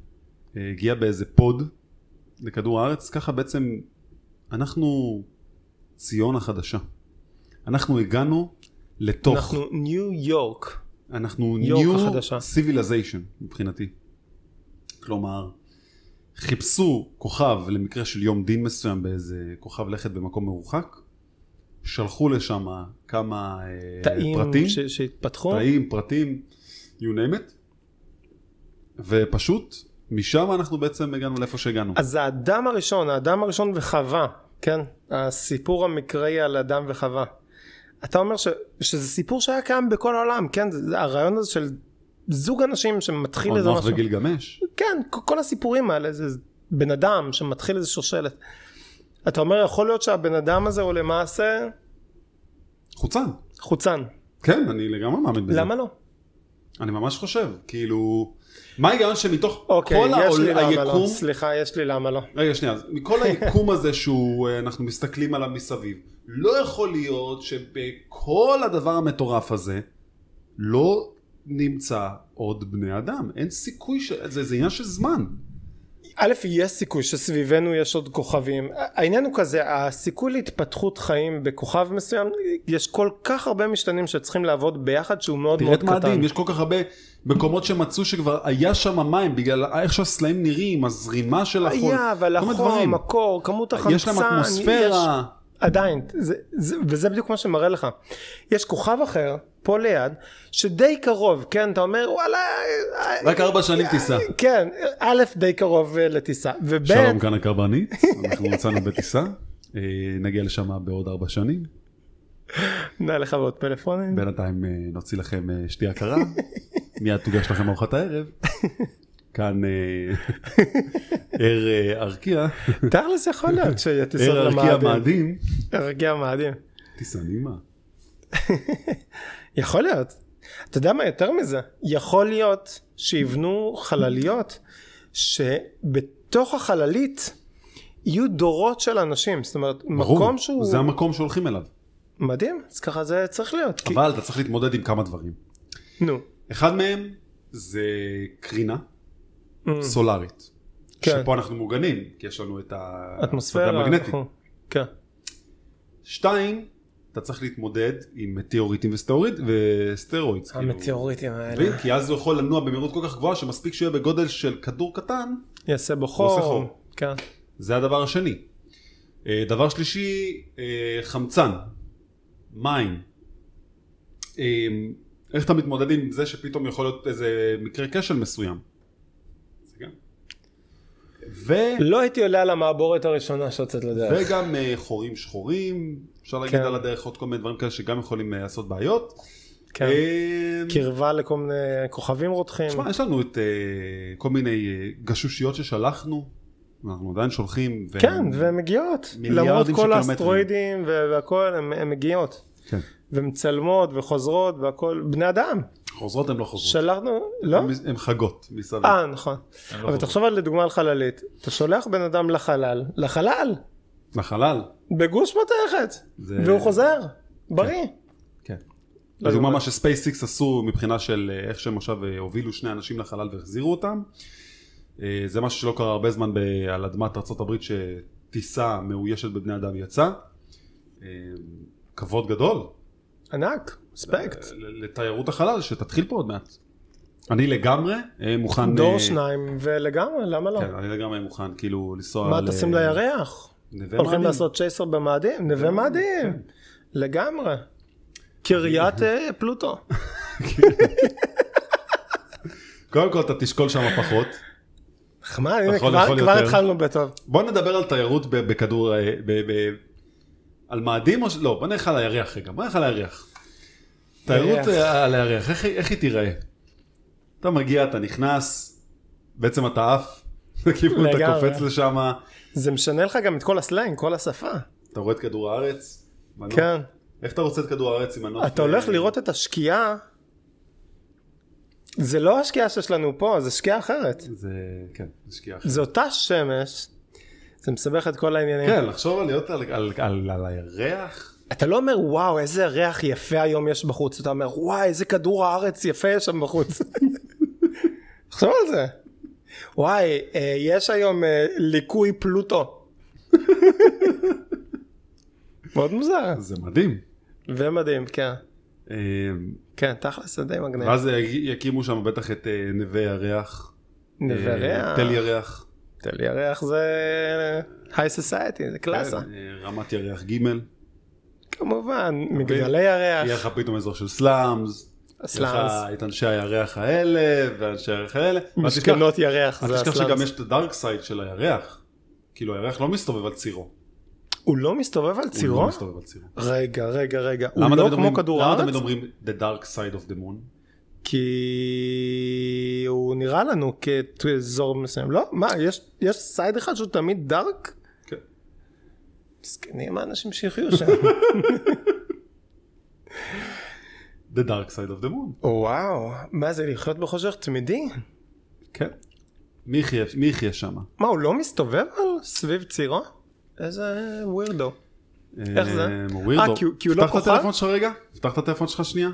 אה, הגיע באיזה פוד לכדור הארץ, ככה בעצם אנחנו ציון החדשה. אנחנו הגענו לתוך, אנחנו ניו יורק. אה, אנחנו יורק New החדשה. Civilization מבחינתי. כלומר, חיפשו כוכב למקרה של יום דין מסוים באיזה כוכב לכת במקום מרוחק, שלחו לשם כמה אה, תאים פרטים, ש- שהתפתחו. תאים, פרטים, you name it, ופשוט משם אנחנו בעצם הגענו לאיפה שהגענו. אז האדם הראשון, האדם הראשון וחווה, כן? הסיפור המקראי על אדם וחווה. אתה אומר ש, שזה סיפור שהיה קיים בכל העולם, כן? זה- זה הרעיון הזה של זוג אנשים שמתחיל עוד איזה נוח משהו. וגילגמש. כן, כ- כל הסיפורים האלה, זה זה בן אדם שמתחיל איזה שושלת. אתה אומר, יכול להיות שהבן אדם הזה הוא למעשה חוצן. חוצן. כן, אני לגמרי מאמין בזה. למה לא? אני ממש חושב, כאילו, מה ההיגיון שמתוך אוקיי, כל יש לי העול- למה לא. היקום, סליחה, יש לי למה לא. רגע שנייה, אז מכל היקום הזה שאנחנו מסתכלים עליו מסביב, לא יכול להיות שבכל הדבר המטורף הזה לא נמצא עוד בני אדם, אין סיכוי, ש... זה, זה עניין של זמן. א', יש סיכוי שסביבנו יש עוד כוכבים. העניין הוא כזה, הסיכוי להתפתחות חיים בכוכב מסוים, יש כל כך הרבה משתנים שצריכים לעבוד ביחד שהוא מאוד תראה מאוד את מאדים, קטן. יש כל כך הרבה מקומות שמצאו שכבר היה שם מים, בגלל איך שהסלעים נראים, הזרימה של החול, היה, אבל כל מיני דברים. החום, הקור, כמות החמצן, יש להם אטמוספירה, יש- עדיין, זה, זה, וזה בדיוק מה שמראה לך. יש כוכב אחר, פה ליד, שדי קרוב, כן, אתה אומר, וואלה... אה, רק ארבע שנים טיסה. כן, א', די קרוב אה, לטיסה, וב', שלום כאן הקרבנית, אנחנו יצאנו בטיסה, אה, נגיע לשם בעוד ארבע שנים. נא לך ועוד פלאפונים. בינתיים אה, נוציא לכם אה, שתייה קרה, מיד תוגש לכם ארוחת הערב. כאן אה, ער אה, ארקיע, תכלס יכול להיות שתסוד ער ארקיע למאדים. מאדים, הרגיע מאדים. טיסה נעימה. יכול להיות. אתה יודע מה יותר מזה? יכול להיות שיבנו חלליות שבתוך החללית יהיו דורות של אנשים. זאת אומרת, מקום שהוא... זה המקום שהולכים אליו, מדהים, אז ככה זה צריך להיות. כי... אבל אתה צריך להתמודד עם כמה דברים. נו. אחד מהם זה קרינה Mm, סולארית, כן. שפה אנחנו מוגנים, כי יש לנו את ה- אטמוספירה. השדה המגנטית. אנחנו- כן. שתיים, אתה צריך להתמודד עם מטאוריטים וסטאוריד- וסטרואידס. כאילו. המטאוריטים האלה. מבין? כי אז הוא יכול לנוע במהירות כל כך גבוהה שמספיק שהוא יהיה בגודל של כדור קטן, יעשה בו עושה חום. חור. כן. זה הדבר השני. אה, דבר שלישי, אה, חמצן, מים. אה, איך אתה מתמודד עם זה שפתאום יכול להיות איזה מקרה כשל מסוים? זה גם. ו... לא הייתי עולה על המעבורת הראשונה שיוצאת לדרך. וגם אה, חורים שחורים, אפשר להגיד כן. על הדרך עוד כל מיני דברים כאלה שגם יכולים אה, לעשות בעיות. כן. אה, קרבה לכל מיני כוכבים רותחים. תשמע, יש לנו את אה, כל מיני אה, גשושיות ששלחנו, אנחנו עדיין שולחים. ו- כן, והן מגיעות. מיליארדים למרות של כל קילומטרים. האסטרואידים וה- והכל, הן- הן מגיעות. כן. ומצלמות וחוזרות והכל, בני אדם. חוזרות הן לא חוזרות. שלחנו, לא? הן חגות מסביב. אה, נכון. הן לא אבל חוזרות. תחשוב על לדוגמה על חללית. אתה שולח בן אדם לחלל, לחלל, לחלל. בגוש מתכת, זה- והוא חוזר, בריא. אה, כן. לא לדוגמה יודע. מה שספייסיקס עשו מבחינה של אה, איך שהם עכשיו אה, הובילו שני אנשים לחלל והחזירו אותם. אה, זה משהו שלא קרה הרבה זמן ב- על אדמת ארה"ב שטיסה מאוישת בבני אדם יצאה. אה, כבוד גדול אה, ענק, אספקט. ל- לתיירות החלל שתתחיל פה עוד מעט. אני לגמרי אה, מוכן... דור אה, שניים, ולגמרי, למה לא? כן, אני לגמרי מוכן כאילו לנסוע... מה ל- טסים לירח? נווה הולכים מאדים. לעשות צ'ייסר במאדים? אה, נווה כן. מאדים, לגמרי. קריית אה, פלוטו. קודם כל אתה תשקול שם פחות. נחמד, הנה, יכול- כבר- יכול כבר יותר. התחלנו בטוב. בוא נדבר על תיירות ב- בכדור... אה, ב- ב- על מאדים או... ש- לא, בוא נלך על הירח רגע, בוא נלך על הירח. תיירות ירח. אה, על הירח, איך היא- איך היא תיראה? אתה מגיע, אתה נכנס, בעצם אתה עף, כאילו אתה לגמרי. קופץ לשם, זה משנה לך גם את כל הסלנג, כל השפה. אתה רואה את כדור הארץ. מנוף. כן. איך אתה רוצה את כדור הארץ עם מנוף? אתה הולך אה, לראות את השקיעה. זה לא השקיעה שיש לנו פה, זה שקיעה אחרת. זה, כן, זה שקיעה אחרת. זה אותה שמש, זה מסבך את כל העניינים. כן, לחשוב על להיות על, על, על, על הירח? אתה לא אומר וואו איזה ריח יפה היום יש בחוץ, אתה אומר וואי איזה כדור הארץ יפה יש שם בחוץ. תחשוב על זה. וואי, אה, יש היום אה, ליקוי פלוטו. מאוד מוזר. זה מדהים. ומדהים, כן. אה, כן, תכלס זה די מגניב. ואז י- יקימו שם בטח את אה, נווה ירח. נווה אה, ריח. תל ירח. תל ירח זה היי סוסייטי, זה קלאסה. כן, אה, רמת ירח ג' כמובן, אוקיי. מגדלי יהיה ירח, לך פתאום אזור של סלאמס. יהיה סלאמס, לך את אנשי הירח האלה, ואנשי הירח האלה. ואל תשכח- משכנות ירח, אל זה תשכח לא- שגם הסלאמס. יש את הדארק סייד של הירח. כאילו הירח לא מסתובב על צירו. הוא לא מסתובב על הוא צירו? לא מסתובב על צירו. רגע, רגע, רגע, הוא למה לא תמיד כמו אומרים- כדור למה תמיד הארץ? אומרים The Dark Side of the Moon? כי הוא נראה לנו כאזור מסוים, לא? מה, יש- יש סייד אחד שהוא תמיד דארק? כן. מסכנים האנשים שיחיו שם. The Dark Side of the Moon. וואו, מה זה לחיות בחושך תמידי? כן. מי יחיה- מי יחיה שם? מה, הוא לא מסתובב על סביב צירו? איזה ווירדו. איך זה? ווירדו. אה, כי הוא- כי הוא לא אמ, פתח את כוכב? הטלפון שלך רגע, פתח את הטלפון שלך שנייה,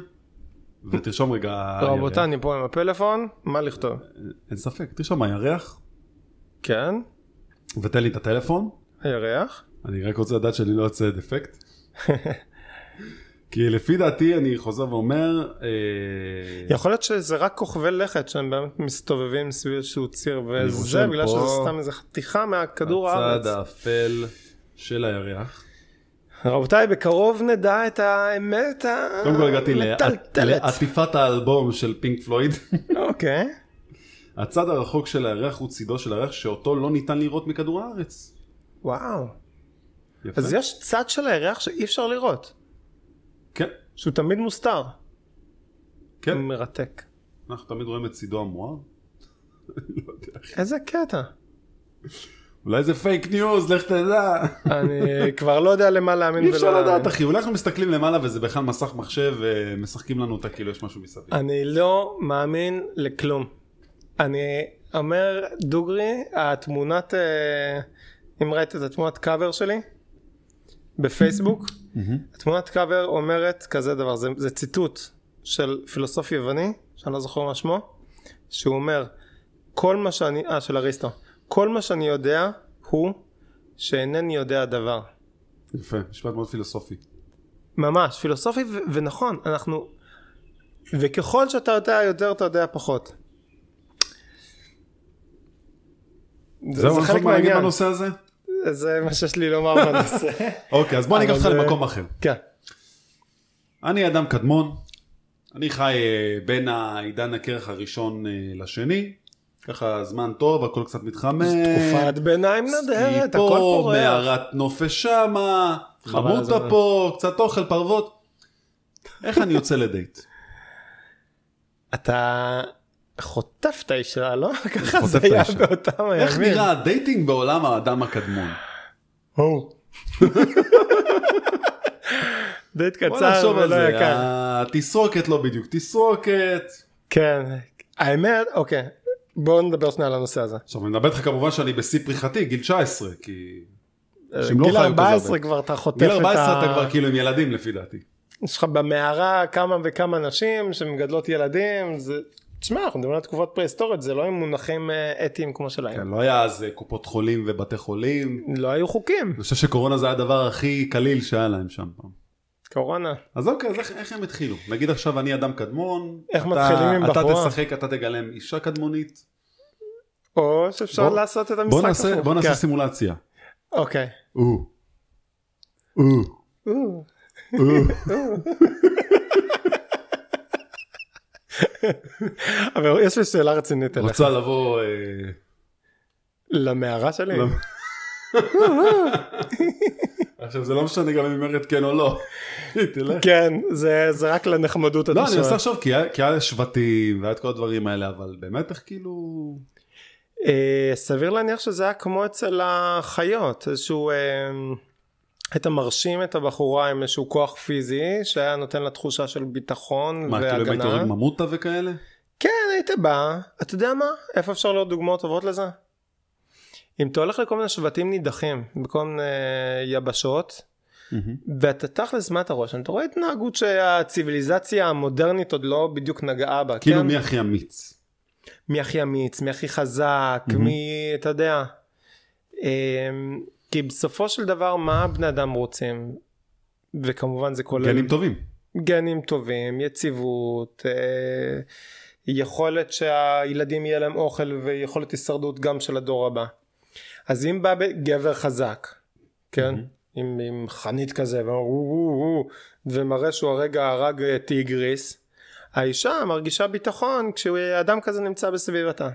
ותרשום רגע... רבותיי, הירח. אני פה עם הפלאפון, מה לכתוב? אין ספק, תרשום הירח, כן, ותן לי את הטלפון, הירח. אני רק רוצה לדעת שאני לא יוצא דפקט. כי לפי דעתי, אני חוזר ואומר, אה, יכול להיות שזה רק כוכבי לכת שהם באמת מסתובבים סביב איזשהו ציר אני וזה רושם בגלל פה- שזה סתם איזה חתיכה מהכדור הארץ. הצד האפל של הירח. רבותיי, בקרוב נדע את האמת קודם כל אה, הגעתי לע- המטלטלת. לעטיפת האלבום של פינק פלויד. אוקיי. הצד הרחוק של הירח הוא צידו של הירח שאותו לא ניתן לראות מכדור הארץ. וואו. יפה. אז יש צד של הירח שאי אפשר לראות, כן, שהוא תמיד מוסתר. כן. מרתק. אנחנו תמיד רואים את צידו המואר. לא יודע. איזה קטע. אולי זה פייק ניוז, לך תדע. אני כבר לא יודע למה להאמין אי ולא אפשר לדעת, להאמין. אחי. אולי אנחנו מסתכלים למעלה וזה בכלל מסך מחשב, ומשחקים לנו אותה כאילו יש משהו מסביב. אני לא מאמין לכלום. אני אומר, דוגרי, התמונת, אה, אם ראית את התמונת קאבר שלי בפייסבוק, התמונת קאבר אומרת כזה דבר, זה, זה ציטוט של פילוסוף יווני, שאני לא זוכר מה שמו, שהוא אומר, כל מה שאני, אה, של אריסטו, כל מה שאני יודע הוא שאינני יודע דבר. יפה, משפט מאוד פילוסופי. ממש, פילוסופי ו- ונכון, אנחנו... וככל שאתה יודע יותר, אתה יודע פחות. זהו, זה, זה אנחנו חלק עוד מעניינים מהעניין, בנושא הזה? זה מה שיש לי לומר בנושא. אוקיי, אז בוא אני אקח אבל אותך זה- למקום אחר. כן, אני אדם קדמון, אני חי אה, בין העידן הקרח הראשון אה, לשני, ככה זמן טוב, הכל קצת מתחמם. תקופת ביניים היא נדרת, הכל פה, פורח. מערת נופש שמה, חבל חמותה הזמן. פה, קצת אוכל, פרוות. איך אני יוצא לדייט? אתה חוטף את האישה, לא? ככה חוטף זה את היה האישה. באותם הימים. איך נראה הדייטינג בעולם האדם הקדמון? הו. דייט בוא קצר נחשוב על ולא זה, אה. יקר. התסרוקת לא בדיוק תסרוקת. כן, האמת, אוקיי, בואו נדבר שנייה על הנושא הזה. עכשיו אני מדבר איתך כמובן שאני בשיא פריחתי, גיל 19, כי... אנשים לא גיל חיו כזה 14 הרבה. כבר אתה חוטף את גיל ה... כן. 14 אתה כבר כאילו עם ילדים לפי דעתי. יש לך במערה כמה וכמה נשים שמגדלות ילדים, זה תשמע, אנחנו מדברים על תקופות פרה-היסטוריות, זה לא עם מונחים אה, אתיים כמו שלהם. כן, לא היה אז אה, קופות חולים ובתי חולים. לא היו חוקים. אני חושב שקורונה זה היה הדבר הכי קליל שהיה להם שם פעם. קורונה. אז אוקיי, אז איך, איך הם התחילו? נגיד עכשיו אני אדם קדמון, איך אתה, מתחילים עם אתה בחורה? תשחק, אתה תגלם אישה קדמונית. או שאפשר בוא- לעשות את המשחק בוא נעשה, הפוך. בוא נעשה כן. סימולציה. אוקיי. או. או. או, או. או. אבל יש לי שאלה רצינית אליך. רוצה לבוא... אה, למערה שלי? לא. עכשיו זה לא משנה גם אם היא אומרת כן או לא. היא תלך. כן, זה זה רק לנחמדות אתה לא, אני שואל. מנסה לחשוב כי היה- כי היה שבטים והיה את כל הדברים האלה, אבל באמת איך כאילו... אה, סביר להניח שזה היה כמו אצל החיות, איזשהו... אה, היית מרשים את הבחורה עם איזשהו כוח פיזי שהיה נותן לה תחושה של ביטחון מה, כאילו אם הייתי והגנה. הורג ממוטה וכאלה? כן, היית בא, אתה יודע מה? איפה אפשר לראות דוגמאות טובות לזה? אם אתה הולך לכל מיני שבטים נידחים, בכל מיני אה, יבשות, ואתה תכלס מה אתה רואה שם? אתה רואה התנהגות שהציוויליזציה המודרנית עוד לא בדיוק נגעה בה. כאילו כן? מי הכי אמיץ? מי הכי אמיץ, מי הכי חזק, מהמם. מי, אתה יודע. אמ, כי בסופו של דבר, מה הבני אדם רוצים? וכמובן זה כולל גנים טובים. גנים טובים, יציבות, אה, יכולת שהילדים יהיה להם אוכל ויכולת הישרדות גם של הדור הבא. אז אם בא ב- גבר חזק, כן? מהמם. עם, עם חנית כזה, ואומר, "וו, וו, וו", ומראה שהוא הרגע הרג אה, טיגריס, האישה מרגישה ביטחון כשאדם כזה נמצא בסביבתה.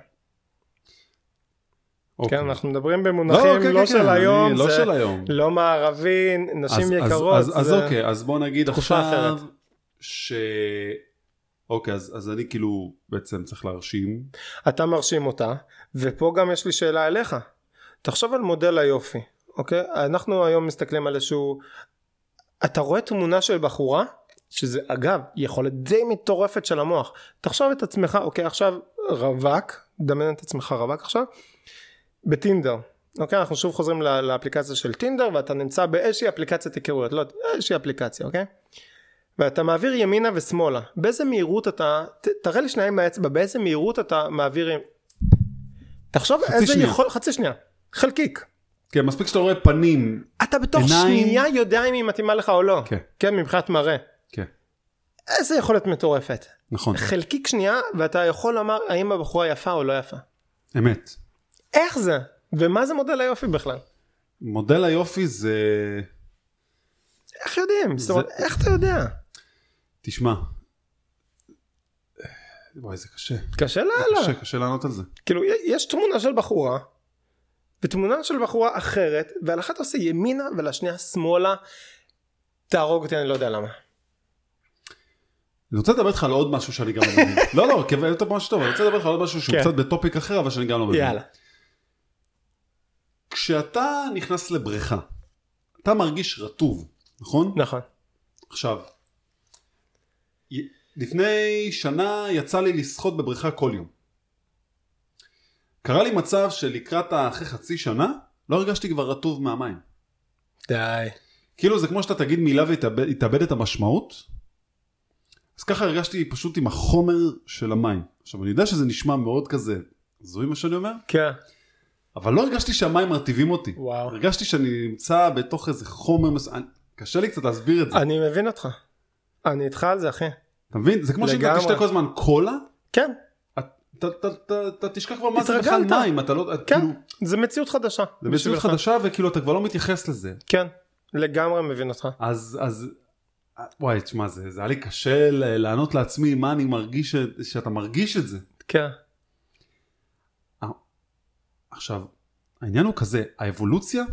אוקיי. כן, אנחנו מדברים לא, במונחים כן, לא כן, כן, של אני- היום, לא זה של היום. לא מערבי, נשים אז- אז- יקרות. אז- אז זה- אוקיי, אז בוא נגיד תקופה עכשיו אחרת. ש... אוקיי, אז אז אני כאילו בעצם צריך להרשים. אתה מרשים אותה, ופה גם יש לי שאלה אליך. תחשוב על מודל היופי, אוקיי? אנחנו היום מסתכלים על איזשהו... אתה רואה תמונה של בחורה, שזה אגב יכולת די מטורפת של המוח. תחשוב את עצמך, אוקיי, עכשיו רווק, דמיין את עצמך רווק עכשיו, בטינדר. אוקיי, אנחנו שוב חוזרים לא- לאפליקציה של טינדר, ואתה נמצא באיזושהי אפליקציית היכרויות, לא, איזושהי אפליקציה, אוקיי? ואתה מעביר ימינה ושמאלה, באיזה מהירות אתה, ת, תראה לי שנייה עם האצבע, באיזה מהירות אתה מעביר, עם- תחשוב איזה שנייה. יכול, חצי שנייה, חלקיק, כן, מספיק שאתה רואה פנים. אתה בתוך עיניים. שנייה יודע אם היא מתאימה לך או לא, כן. כן מבחינת מראה, כן, איזה יכולת מטורפת, נכון, חלקיק שנייה ואתה יכול לומר האם הבחורה יפה או לא יפה, אמת. איך זה, ומה זה מודל היופי בכלל, מודל היופי זה... איך יודעים, זאת זה- אומרת, איך אתה יודע, תשמע. וואי, זה קשה. קשה קשה, לאללה, קשה לענות על זה. כאילו יש תמונה של בחורה ותמונה של בחורה אחרת ועל אחת עושה ימינה ולשנייה שמאלה תהרוג אותי אני לא יודע למה. אני רוצה לדבר איתך על עוד משהו שאני גם לא מבין. לא, לא, כיוון אתה ממש טוב, אני רוצה לדבר איתך על עוד משהו שהוא כן. קצת בטופיק אחר, אבל שאני גם לא מבין. יאללה. כשאתה נכנס לבריכה, אתה מרגיש רטוב, נכון? נכון. עכשיו, י- לפני שנה יצא לי לשחות בבריכה כל יום. קרה לי מצב שלקראת ה- אחרי חצי שנה, לא הרגשתי כבר רטוב מהמים. די. כאילו זה כמו שאתה תגיד מילה ותאבד תאבד את המשמעות. אז ככה הרגשתי פשוט עם החומר של המים. עכשיו אני יודע שזה נשמע מאוד כזה, זוהי מה שאני אומר, כן. אבל לא הרגשתי שהמים מרטיבים אותי. וואו. הרגשתי שאני נמצא בתוך איזה חומר מסוים, קשה לי קצת להסביר את זה. אני מבין אותך. אני איתך על זה אחי. אתה מבין? זה כמו שאם אתה לגמרי. תשתה כל הזמן קולה, כן. אתה- אתה- אתה אתה תשכח כבר מה זה בכלל התרגלת. מים, אתה לא, כן. כאילו, זה מציאות חדשה. זה מציאות בשבילך. חדשה וכאילו אתה כבר לא מתייחס לזה. כן. לגמרי מבין אותך. אז אז אה, וואי תשמע זה זה היה לי קשה ל- לענות לעצמי מה אני מרגיש ש- שאתה מרגיש את זה. כן. עכשיו העניין הוא כזה האבולוציה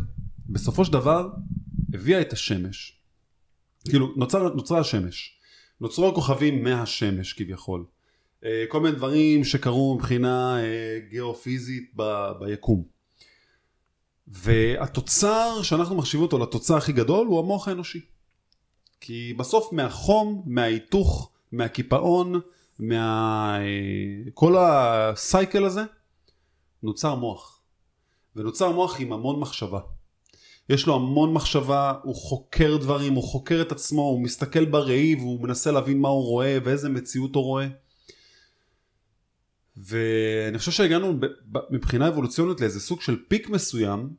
בסופו של דבר הביאה את השמש. כאילו נוצר, נוצרה השמש. נוצרו הכוכבים מהשמש כביכול. אה, כל מיני דברים שקרו מבחינה אה, גיאופיזית ב, ביקום. והתוצר שאנחנו מחשיבים אותו לתוצר הכי גדול הוא המוח האנושי. כי בסוף מהחום, מההיתוך, מהקיפאון, מה... אה, כל הסייקל הזה, נוצר מוח. ונוצר מוח עם המון מחשבה. יש לו המון מחשבה, הוא חוקר דברים, הוא חוקר את עצמו, הוא מסתכל בראי והוא מנסה להבין מה הוא רואה ואיזה מציאות הוא רואה. ואני חושב שהגענו ב- ב- מבחינה אבולוציונית לאיזה סוג של פיק מסוים,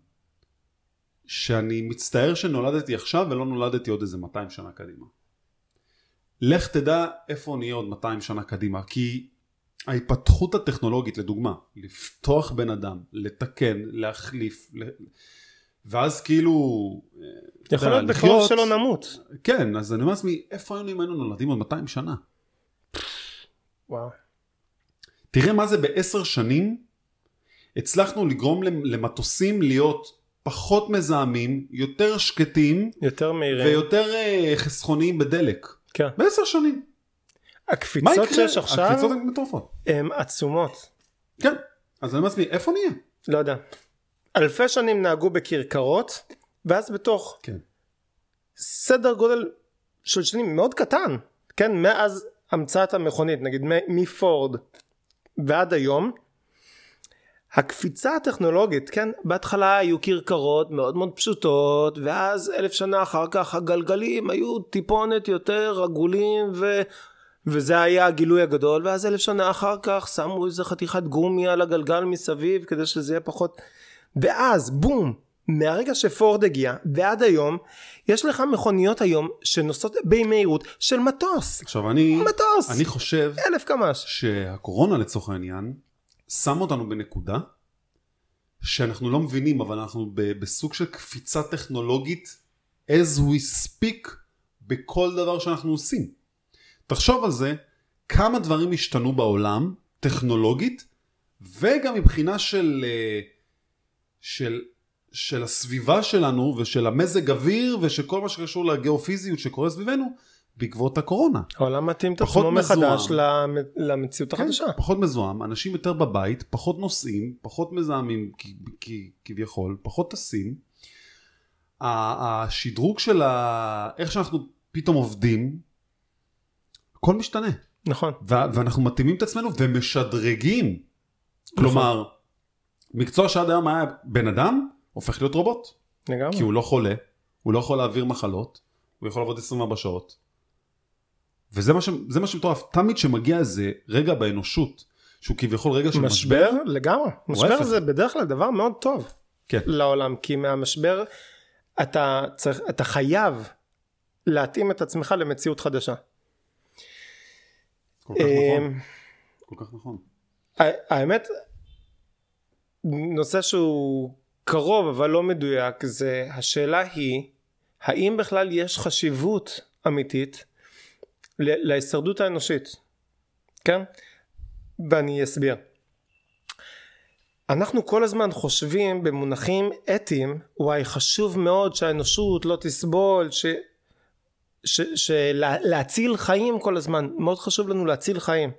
שאני מצטער שנולדתי עכשיו ולא נולדתי עוד איזה 200 שנה קדימה. לך תדע איפה נהיה עוד 200 שנה קדימה, כי ההתפתחות הטכנולוגית, לדוגמה, לפתוח בן אדם, לתקן, להחליף, ל... ואז כאילו... אה, אתה יכול יודע, להיות בקרוב לחיות- שלא נמות. כן, אז אני אומר לעצמי, איפה היינו אם היינו נולדים עוד 200 שנה? וואו. תראה מה זה בעשר שנים הצלחנו לגרום למ- למטוסים להיות פחות מזהמים, יותר שקטים יותר מהירים. ויותר אה, חסכוניים בדלק. כן. בעשר שנים. מה הקפיצות יקרה? שיש עכשיו הקפיצות הן מטורפות. הן עצומות. כן. אז אני אומר לעצמי, איפה נהיה? לא יודע. אלפי שנים נהגו בכרכרות, ואז בתוך כן. סדר גודל של שנים מאוד קטן, כן, מאז המצאת המכונית, נגיד מ- מפורד ועד היום, הקפיצה הטכנולוגית, כן, בהתחלה היו כרכרות מאוד מאוד פשוטות, ואז אלף שנה אחר כך הגלגלים היו טיפונת יותר עגולים ו... וזה היה הגילוי הגדול, ואז אלף שנה אחר כך שמו איזה חתיכת גומי על הגלגל מסביב כדי שזה יהיה פחות... ואז בום, מהרגע שפורד הגיע ועד היום, יש לך מכוניות היום שנוסעות במהירות של מטוס. עכשיו אני, מטוס! אני חושב אלף קמ"ש. שהקורונה לצורך העניין, שם אותנו בנקודה שאנחנו לא מבינים, אבל אנחנו ב- בסוג של קפיצה טכנולוגית as we speak בכל דבר שאנחנו עושים. תחשוב על זה, כמה דברים השתנו בעולם, טכנולוגית, וגם מבחינה של, אה, של, של הסביבה שלנו ושל המזג אוויר ושל כל מה שקשור לגיאופיזיות שקורה סביבנו בעקבות הקורונה. העולם מתאים את פחות עצמו מחדש מזוהם. למ- למציאות החדשה. כן, פחות מזוהם, אנשים יותר בבית, פחות נוסעים, פחות מזהמים כ- כ- כביכול, פחות טסים. ה- השדרוג של ה... איך שאנחנו פתאום עובדים, הכל משתנה. נכון. ו- ואנחנו מתאימים את עצמנו ומשדרגים. כלומר, מקצוע שעד היום היה בן אדם, הופך להיות רובוט. כי לגמרי. הוא לא חולה, הוא לא יכול להעביר מחלות, הוא יכול לעבוד 24 שעות. וזה מה, ש... זה מה שמטורף, תמיד שמגיע איזה רגע באנושות, שהוא כביכול רגע של משבר, משבר? לגמרי. משבר ההפך. זה בדרך כלל דבר מאוד טוב כן. לעולם, כי מהמשבר אתה צריך, אתה חייב להתאים את עצמך למציאות חדשה. כל כך נכון, אמ, כל כך נכון. ה- האמת, נושא שהוא קרוב אבל לא מדויק, זה השאלה היא, האם בכלל יש חשיבות אמיתית ל- להישרדות האנושית, כן? ואני אסביר. אנחנו כל הזמן חושבים במונחים אתיים, וואי חשוב מאוד שהאנושות לא תסבול, ש... ש... שלהציל חיים כל הזמן, מאוד חשוב לנו להציל חיים.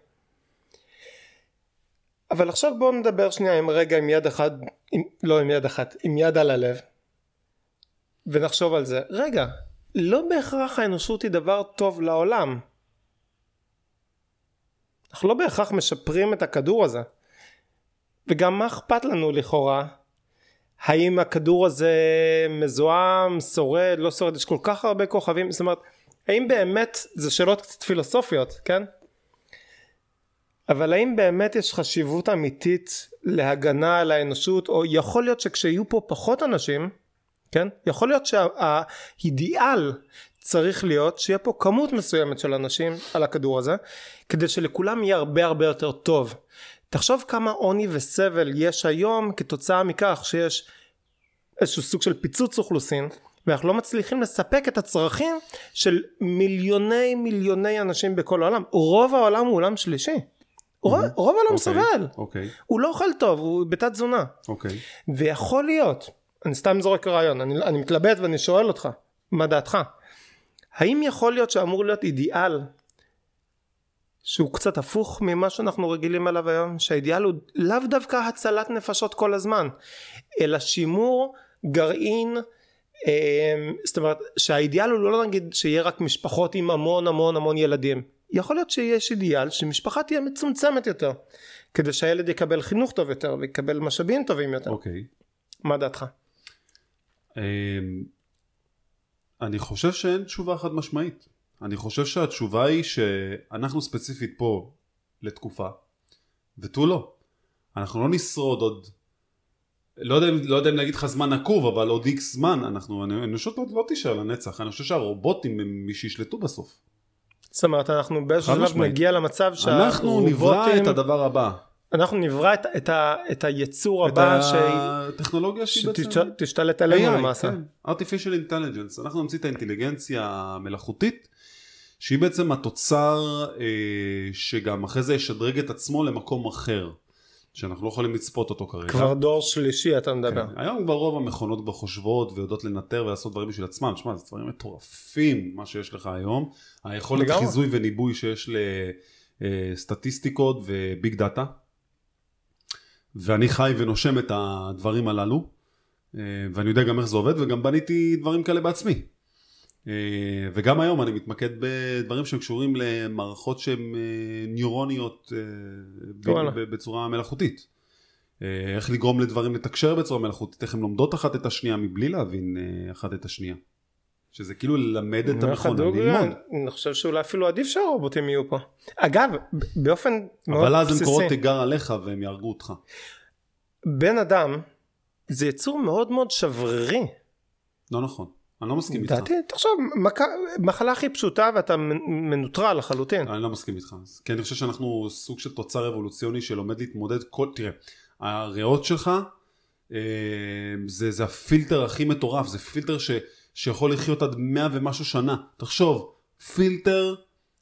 אבל עכשיו בואו נדבר שנייה עם רגע עם יד אחת, עם, לא עם יד אחת, עם יד על הלב ונחשוב על זה. רגע, לא בהכרח האנושות היא דבר טוב לעולם. אנחנו לא בהכרח משפרים את הכדור הזה. וגם מה אכפת לנו לכאורה? האם הכדור הזה מזוהם, שורד, לא שורד, יש כל כך הרבה כוכבים, זאת אומרת, האם באמת, זה שאלות קצת פילוסופיות, כן? אבל האם באמת יש חשיבות אמיתית להגנה על האנושות או יכול להיות שכשיהיו פה פחות אנשים כן יכול להיות שהאידיאל צריך להיות שיהיה פה כמות מסוימת של אנשים על הכדור הזה כדי שלכולם יהיה הרבה הרבה יותר טוב תחשוב כמה עוני וסבל יש היום כתוצאה מכך שיש איזשהו סוג של פיצוץ אוכלוסין ואנחנו לא מצליחים לספק את הצרכים של מיליוני מיליוני אנשים בכל העולם רוב העולם הוא עולם שלישי רוב, Mhm. רוב העולם אוקיי, סובל אוקיי, הוא לא אוכל טוב הוא בתת תזונה אוקיי. ויכול להיות אני סתם זורק רעיון אני, אני מתלבט ואני שואל אותך מה דעתך האם יכול להיות שאמור להיות אידיאל שהוא קצת הפוך ממה שאנחנו רגילים אליו היום שהאידיאל הוא לאו דווקא הצלת נפשות כל הזמן אלא שימור גרעין אמ, זאת אומרת שהאידיאל הוא לא נגיד שיהיה רק משפחות עם המון המון המון ילדים יכול להיות שיש אידיאל שמשפחה תהיה מצומצמת יותר כדי שהילד יקבל חינוך טוב יותר ויקבל משאבים טובים יותר אוקיי. מה דעתך? אמ, אני חושב שאין תשובה חד משמעית. אני חושב שהתשובה היא שאנחנו ספציפית פה לתקופה, ותו לא. אנחנו לא נשרוד עוד, לא יודע, אם- לא יודע אם להגיד לך זמן עקוב, אבל עוד איקס זמן, אנחנו, האנושות לא, לא תישאר לנצח, אני חושב שהרובוטים הם מי שישלטו בסוף. זאת אומרת, אנחנו באיזשהו חד שלב משמעית. נגיע למצב אנחנו נברא שהרובוטים- את הדבר הבא. אנחנו נברא את, את, ה- את היצור את הבא הטכנולוגיה שהיא בעצם... שתשתלט עלינו AI, למעשה. כן. artificial intelligence, אנחנו נמציא את האינטליגנציה המלאכותית, שהיא בעצם התוצר אה, שגם אחרי זה ישדרג את עצמו למקום אחר, שאנחנו לא יכולים לצפות אותו כרגע. כבר דור שלישי אתה מדבר. כן. היום כבר רוב המכונות כבר חושבות ויודעות לנטר ולעשות דברים בשביל עצמן, שמע זה דברים מטורפים מה שיש לך היום, היכולת לגמרי. חיזוי וניבוי שיש לסטטיסטיקות וביג דאטה, ואני חי ונושם את הדברים הללו, אה, ואני יודע גם איך זה עובד וגם בניתי דברים כאלה בעצמי. אה, וגם היום אני מתמקד בדברים שהם קשורים למערכות שהן אה, ניורוניות אה, ב- וואלה. ב- בצורה מלאכותית. אה, איך לגרום לדברים לתקשר בצורה מלאכותית, איך הן לומדות אחת את השנייה מבלי להבין אה, אחת את השנייה. שזה כאילו ללמד את אני אומר לך, המכונה דוגרי, ללמוד. אני חושב שאולי אפילו עדיף שהרובוטים יהיו פה. אגב, ב- באופן מאוד אבל אז הן קוראות לא בסיסי, תיגר עליך והם יהרגו אותך. בן אדם זה יצור מאוד מאוד שברירי. לא נכון, אני לא מסכים איתך. לדעתי, תחשוב, מכה- מחלה הכי פשוטה ואתה מנ- מנוטרל לחלוטין. אני לא מסכים איתך, כי אני חושב שאנחנו סוג של תוצר אבולוציוני שלומד להתמודד כל, תראה, הריאות שלך אה, זה, זה הפילטר הכי מטורף, זה פילטר ש, שיכול לחיות עד מאה ומשהו שנה, תחשוב, פילטר,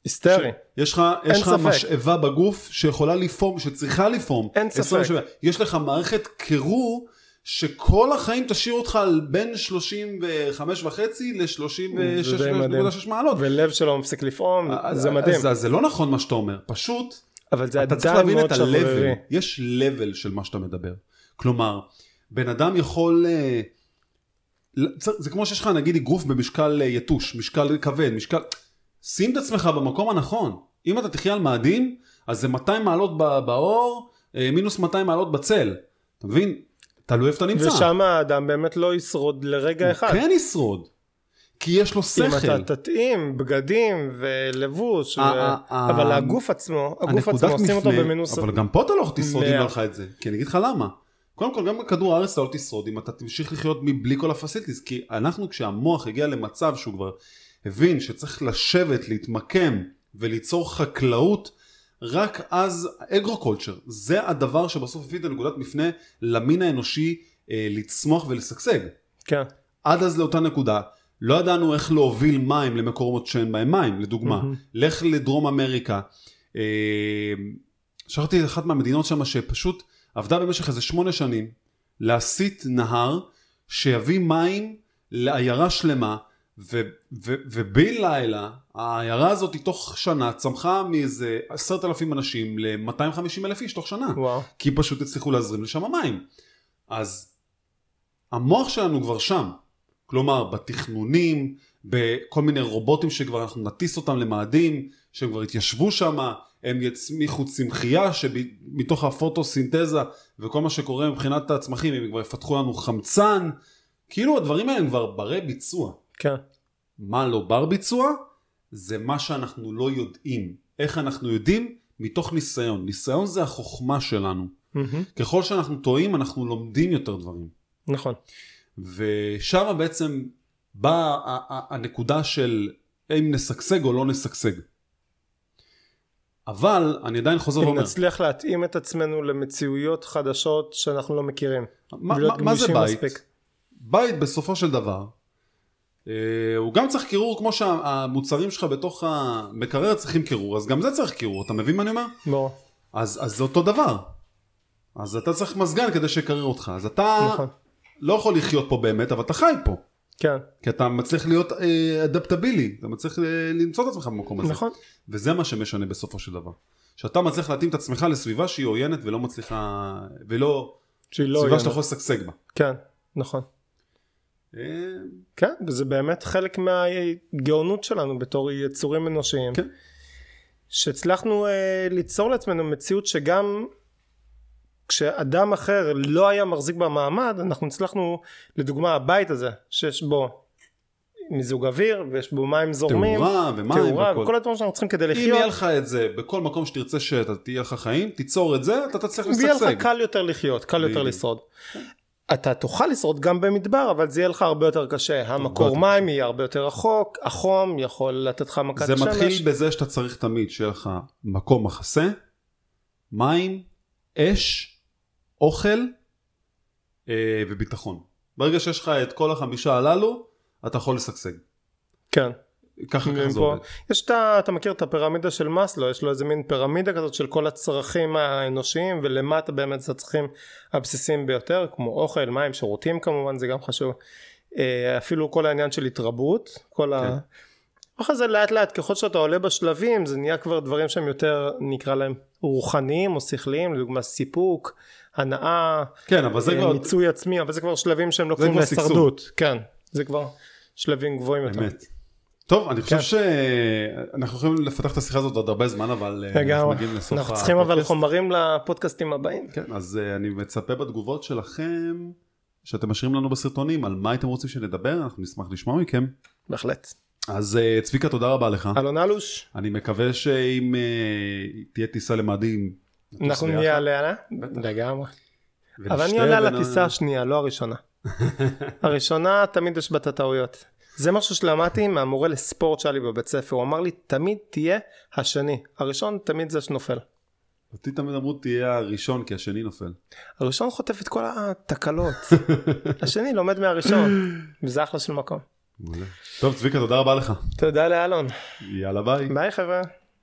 היסטרי. יש לך, יש לך ספק. משאבה בגוף שיכולה לפעום, שצריכה לפעום, אין ספק. 27. יש לך מערכת קירור שכל החיים תשאיר אותך על בין 35 וחצי זה די מדהים. ל-36.6 מעלות. ולב שלו מפסיק לפעום, אז- זה מדהים. אז, אז זה לא נכון מה שאתה אומר, פשוט אבל זה אתה צריך עדיין להבין את מאוד שברירי. ה-level, יש level של מה שאתה מדבר. כלומר, בן אדם יכול, אה, ל- צר- זה כמו שיש לך נגיד גוף במשקל אה, יתוש, משקל כבד, משקל, שים את עצמך במקום הנכון. אם אתה תחיה על מאדים, אז זה 200 מעלות ב- באור, אה, מינוס 200 מעלות בצל. אתה מבין? תלוי איפה אתה נמצא. ושם האדם באמת לא ישרוד לרגע אחד. הוא כן ישרוד. כי יש לו אם שכל. אתה תתאים בגדים ולבוש, ו... ה- ה- ה- אבל הגוף עצמו, הגוף עצמו, אה, הנקודת עושים אותו מפנה, במינוס... אבל גם פה אתה לא תשרוד אם מאה. לא לך את זה, כי אני אגיד לך למה. קודם כל גם בכדור הארץ אתה לא תשרוד אם אתה תמשיך לחיות מבלי כל הפסיליטיז, כי אנחנו כשהמוח הגיע למצב שהוא כבר הבין שצריך לשבת, להתמקם וליצור חקלאות, רק אז אגרו-קולצ'ר, זה הדבר שבסוף הביא את הנקודת מפנה למין האנושי אה, לצמוח ולשגשג. כן. עד אז לאותה נקודה לא ידענו איך להוביל מים למקומות שאין בהם מים, לדוגמה. מהמם. לך לדרום אמריקה. אה, שכחתי את אחת מהמדינות שם שפשוט עבדה במשך איזה שמונה שנים להסיט נהר שיביא מים לעיירה שלמה ו- ו- ובן לילה העיירה הזאת תוך שנה צמחה מאיזה עשרת אלפים אנשים ל-250 אלף איש תוך שנה. וואו. כי פשוט הצליחו להזרים לשם המים. אז המוח שלנו כבר שם. כלומר, בתכנונים, בכל מיני רובוטים שכבר אנחנו נטיס אותם למאדים, שהם כבר התיישבו שם, הם יצמיחו צמחייה שמתוך הפוטוסינתזה וכל מה שקורה מבחינת הצמחים, הם כבר יפתחו לנו חמצן. כאילו הדברים האלה הם כבר ברי ביצוע. כן. מה לא בר ביצוע? זה מה שאנחנו לא יודעים. איך אנחנו יודעים? מתוך ניסיון. ניסיון זה החוכמה שלנו. מהמם. ככל שאנחנו טועים אנחנו לומדים יותר דברים Mm-hmm. נכון. ושם בעצם באה ה- ה- הנקודה של אם נשגשג או לא נשגשג. אבל אני עדיין חוזר אם ואומר, נצליח להתאים את עצמנו למציאויות חדשות שאנחנו לא מכירים. מה, ולהיות מה, מה זה גמישים בית? מספיק. בית בסופו של דבר, אה, הוא גם צריך קירור כמו שהמוצרים שלך בתוך המקרר צריכים קירור, אז גם זה צריך קירור, אתה מבין מה אני אומר? ברור. אז, אז זה אותו דבר. אז אתה צריך מזגן כדי שיקרר אותך, אז אתה נכון. לא יכול לחיות פה באמת, אבל אתה חי פה. כן. כי אתה מצליח להיות אה, אדפטבילי, אתה מצליח אה, למצוא את עצמך במקום הזה. נכון. וזה מה שמשנה בסופו של דבר. שאתה מצליח להתאים את עצמך לסביבה שהיא עוינת ולא מצליחה, ולא, שהיא לא לא... סביבה עוינת. שאתה יכול לשגשג בה. כן. נכון. אה, כן, וזה באמת חלק מהגאונות שלנו בתור יצורים אנושיים. כן. שהצלחנו אה, ליצור לעצמנו מציאות שגם כשאדם אחר לא היה מחזיק בה מעמד, אנחנו הצלחנו, לדוגמה הבית הזה, שיש בו מיזוג אוויר ויש בו מים זורמים, תאורה ומים תאורה והכל. וכל הדברים שאנחנו צריכים כדי אם יהיה לחיות, לך את זה בכל מקום שתרצה שתהיה לך חיים, תיצור את זה, אתה תצליח יהיה לך לשגשג. קל יותר לחיות, קל יותר בדיוק. לשרוד. אתה תוכל לשרוד גם במדבר אבל זה יהיה לך הרבה יותר קשה, המקור יותר מים יהיה הרבה יותר רחוק, החום יכול לתת לך מכת זה שמש. מתחיל בזה שאתה צריך תמיד שיהיה לך מקום מחסה, מים, אש, אוכל אה, וביטחון. ברגע שיש לך את כל החמישה הללו, אתה יכול לשגשג. כן. ככה ככה זה פה- עובד. יש את ה... אתה מכיר את הפירמידה של מאסלו, יש לו איזה מין פירמידה כזאת של כל הצרכים האנושיים ולמטה באמת זה הצרכים הבסיסיים ביותר כמו אוכל, מים, שירותים כמובן זה גם חשוב. אה, אפילו כל העניין של התרבות, כל כן. ה... אחרי זה לאט לאט ככל שאתה עולה בשלבים זה נהיה כבר דברים שהם יותר נקרא להם רוחניים או שכליים לדוגמה סיפוק, הנאה, כן, אבל זה אה, כבר... מיצוי עצמי אבל זה כבר שלבים שהם לא זה קוראים כבר שגשוג. להישרדות, כן זה כבר שלבים גבוהים יותר. אמת. טוב, אני חושב כן. שאנחנו יכולים לפתח את השיחה הזאת עוד הרבה זמן, אבל אה, אנחנו לגמרי, מגיעים לסוף אנחנו צריכים אבל הפודקאסט. חומרים לפודקאסטים הבאים. כן, אז אה, אני מצפה בתגובות שלכם, שאתם משאירים לנו בסרטונים, על מה הייתם רוצים שנדבר, אנחנו נשמח לשמוע מכם. בהחלט. אז אה, צביקה, תודה רבה לך. אלון אלוש, אני מקווה שאם אה, תהיה טיסה למאדים, נטוס אנחנו ביחד. נהיה עליה, אה? לגמרי. אבל אני עולה על ונשתה הטיסה ונ- השנייה, לא הראשונה. הראשונה, תמיד יש בה את הטעויות. זה משהו שלמדתי מהמורה לספורט שהיה לי בבית ספר, הוא אמר לי, תמיד תהיה השני. הראשון תמיד זה שנופל. אותי תמיד אמרו תהיה הראשון כי השני נופל. הראשון חוטף את כל התקלות. השני לומד מהראשון, וזה אחלה של מקום. טוב צביקה תודה רבה לך. תודה לאלון. יאללה ביי. ביי חבר'ה.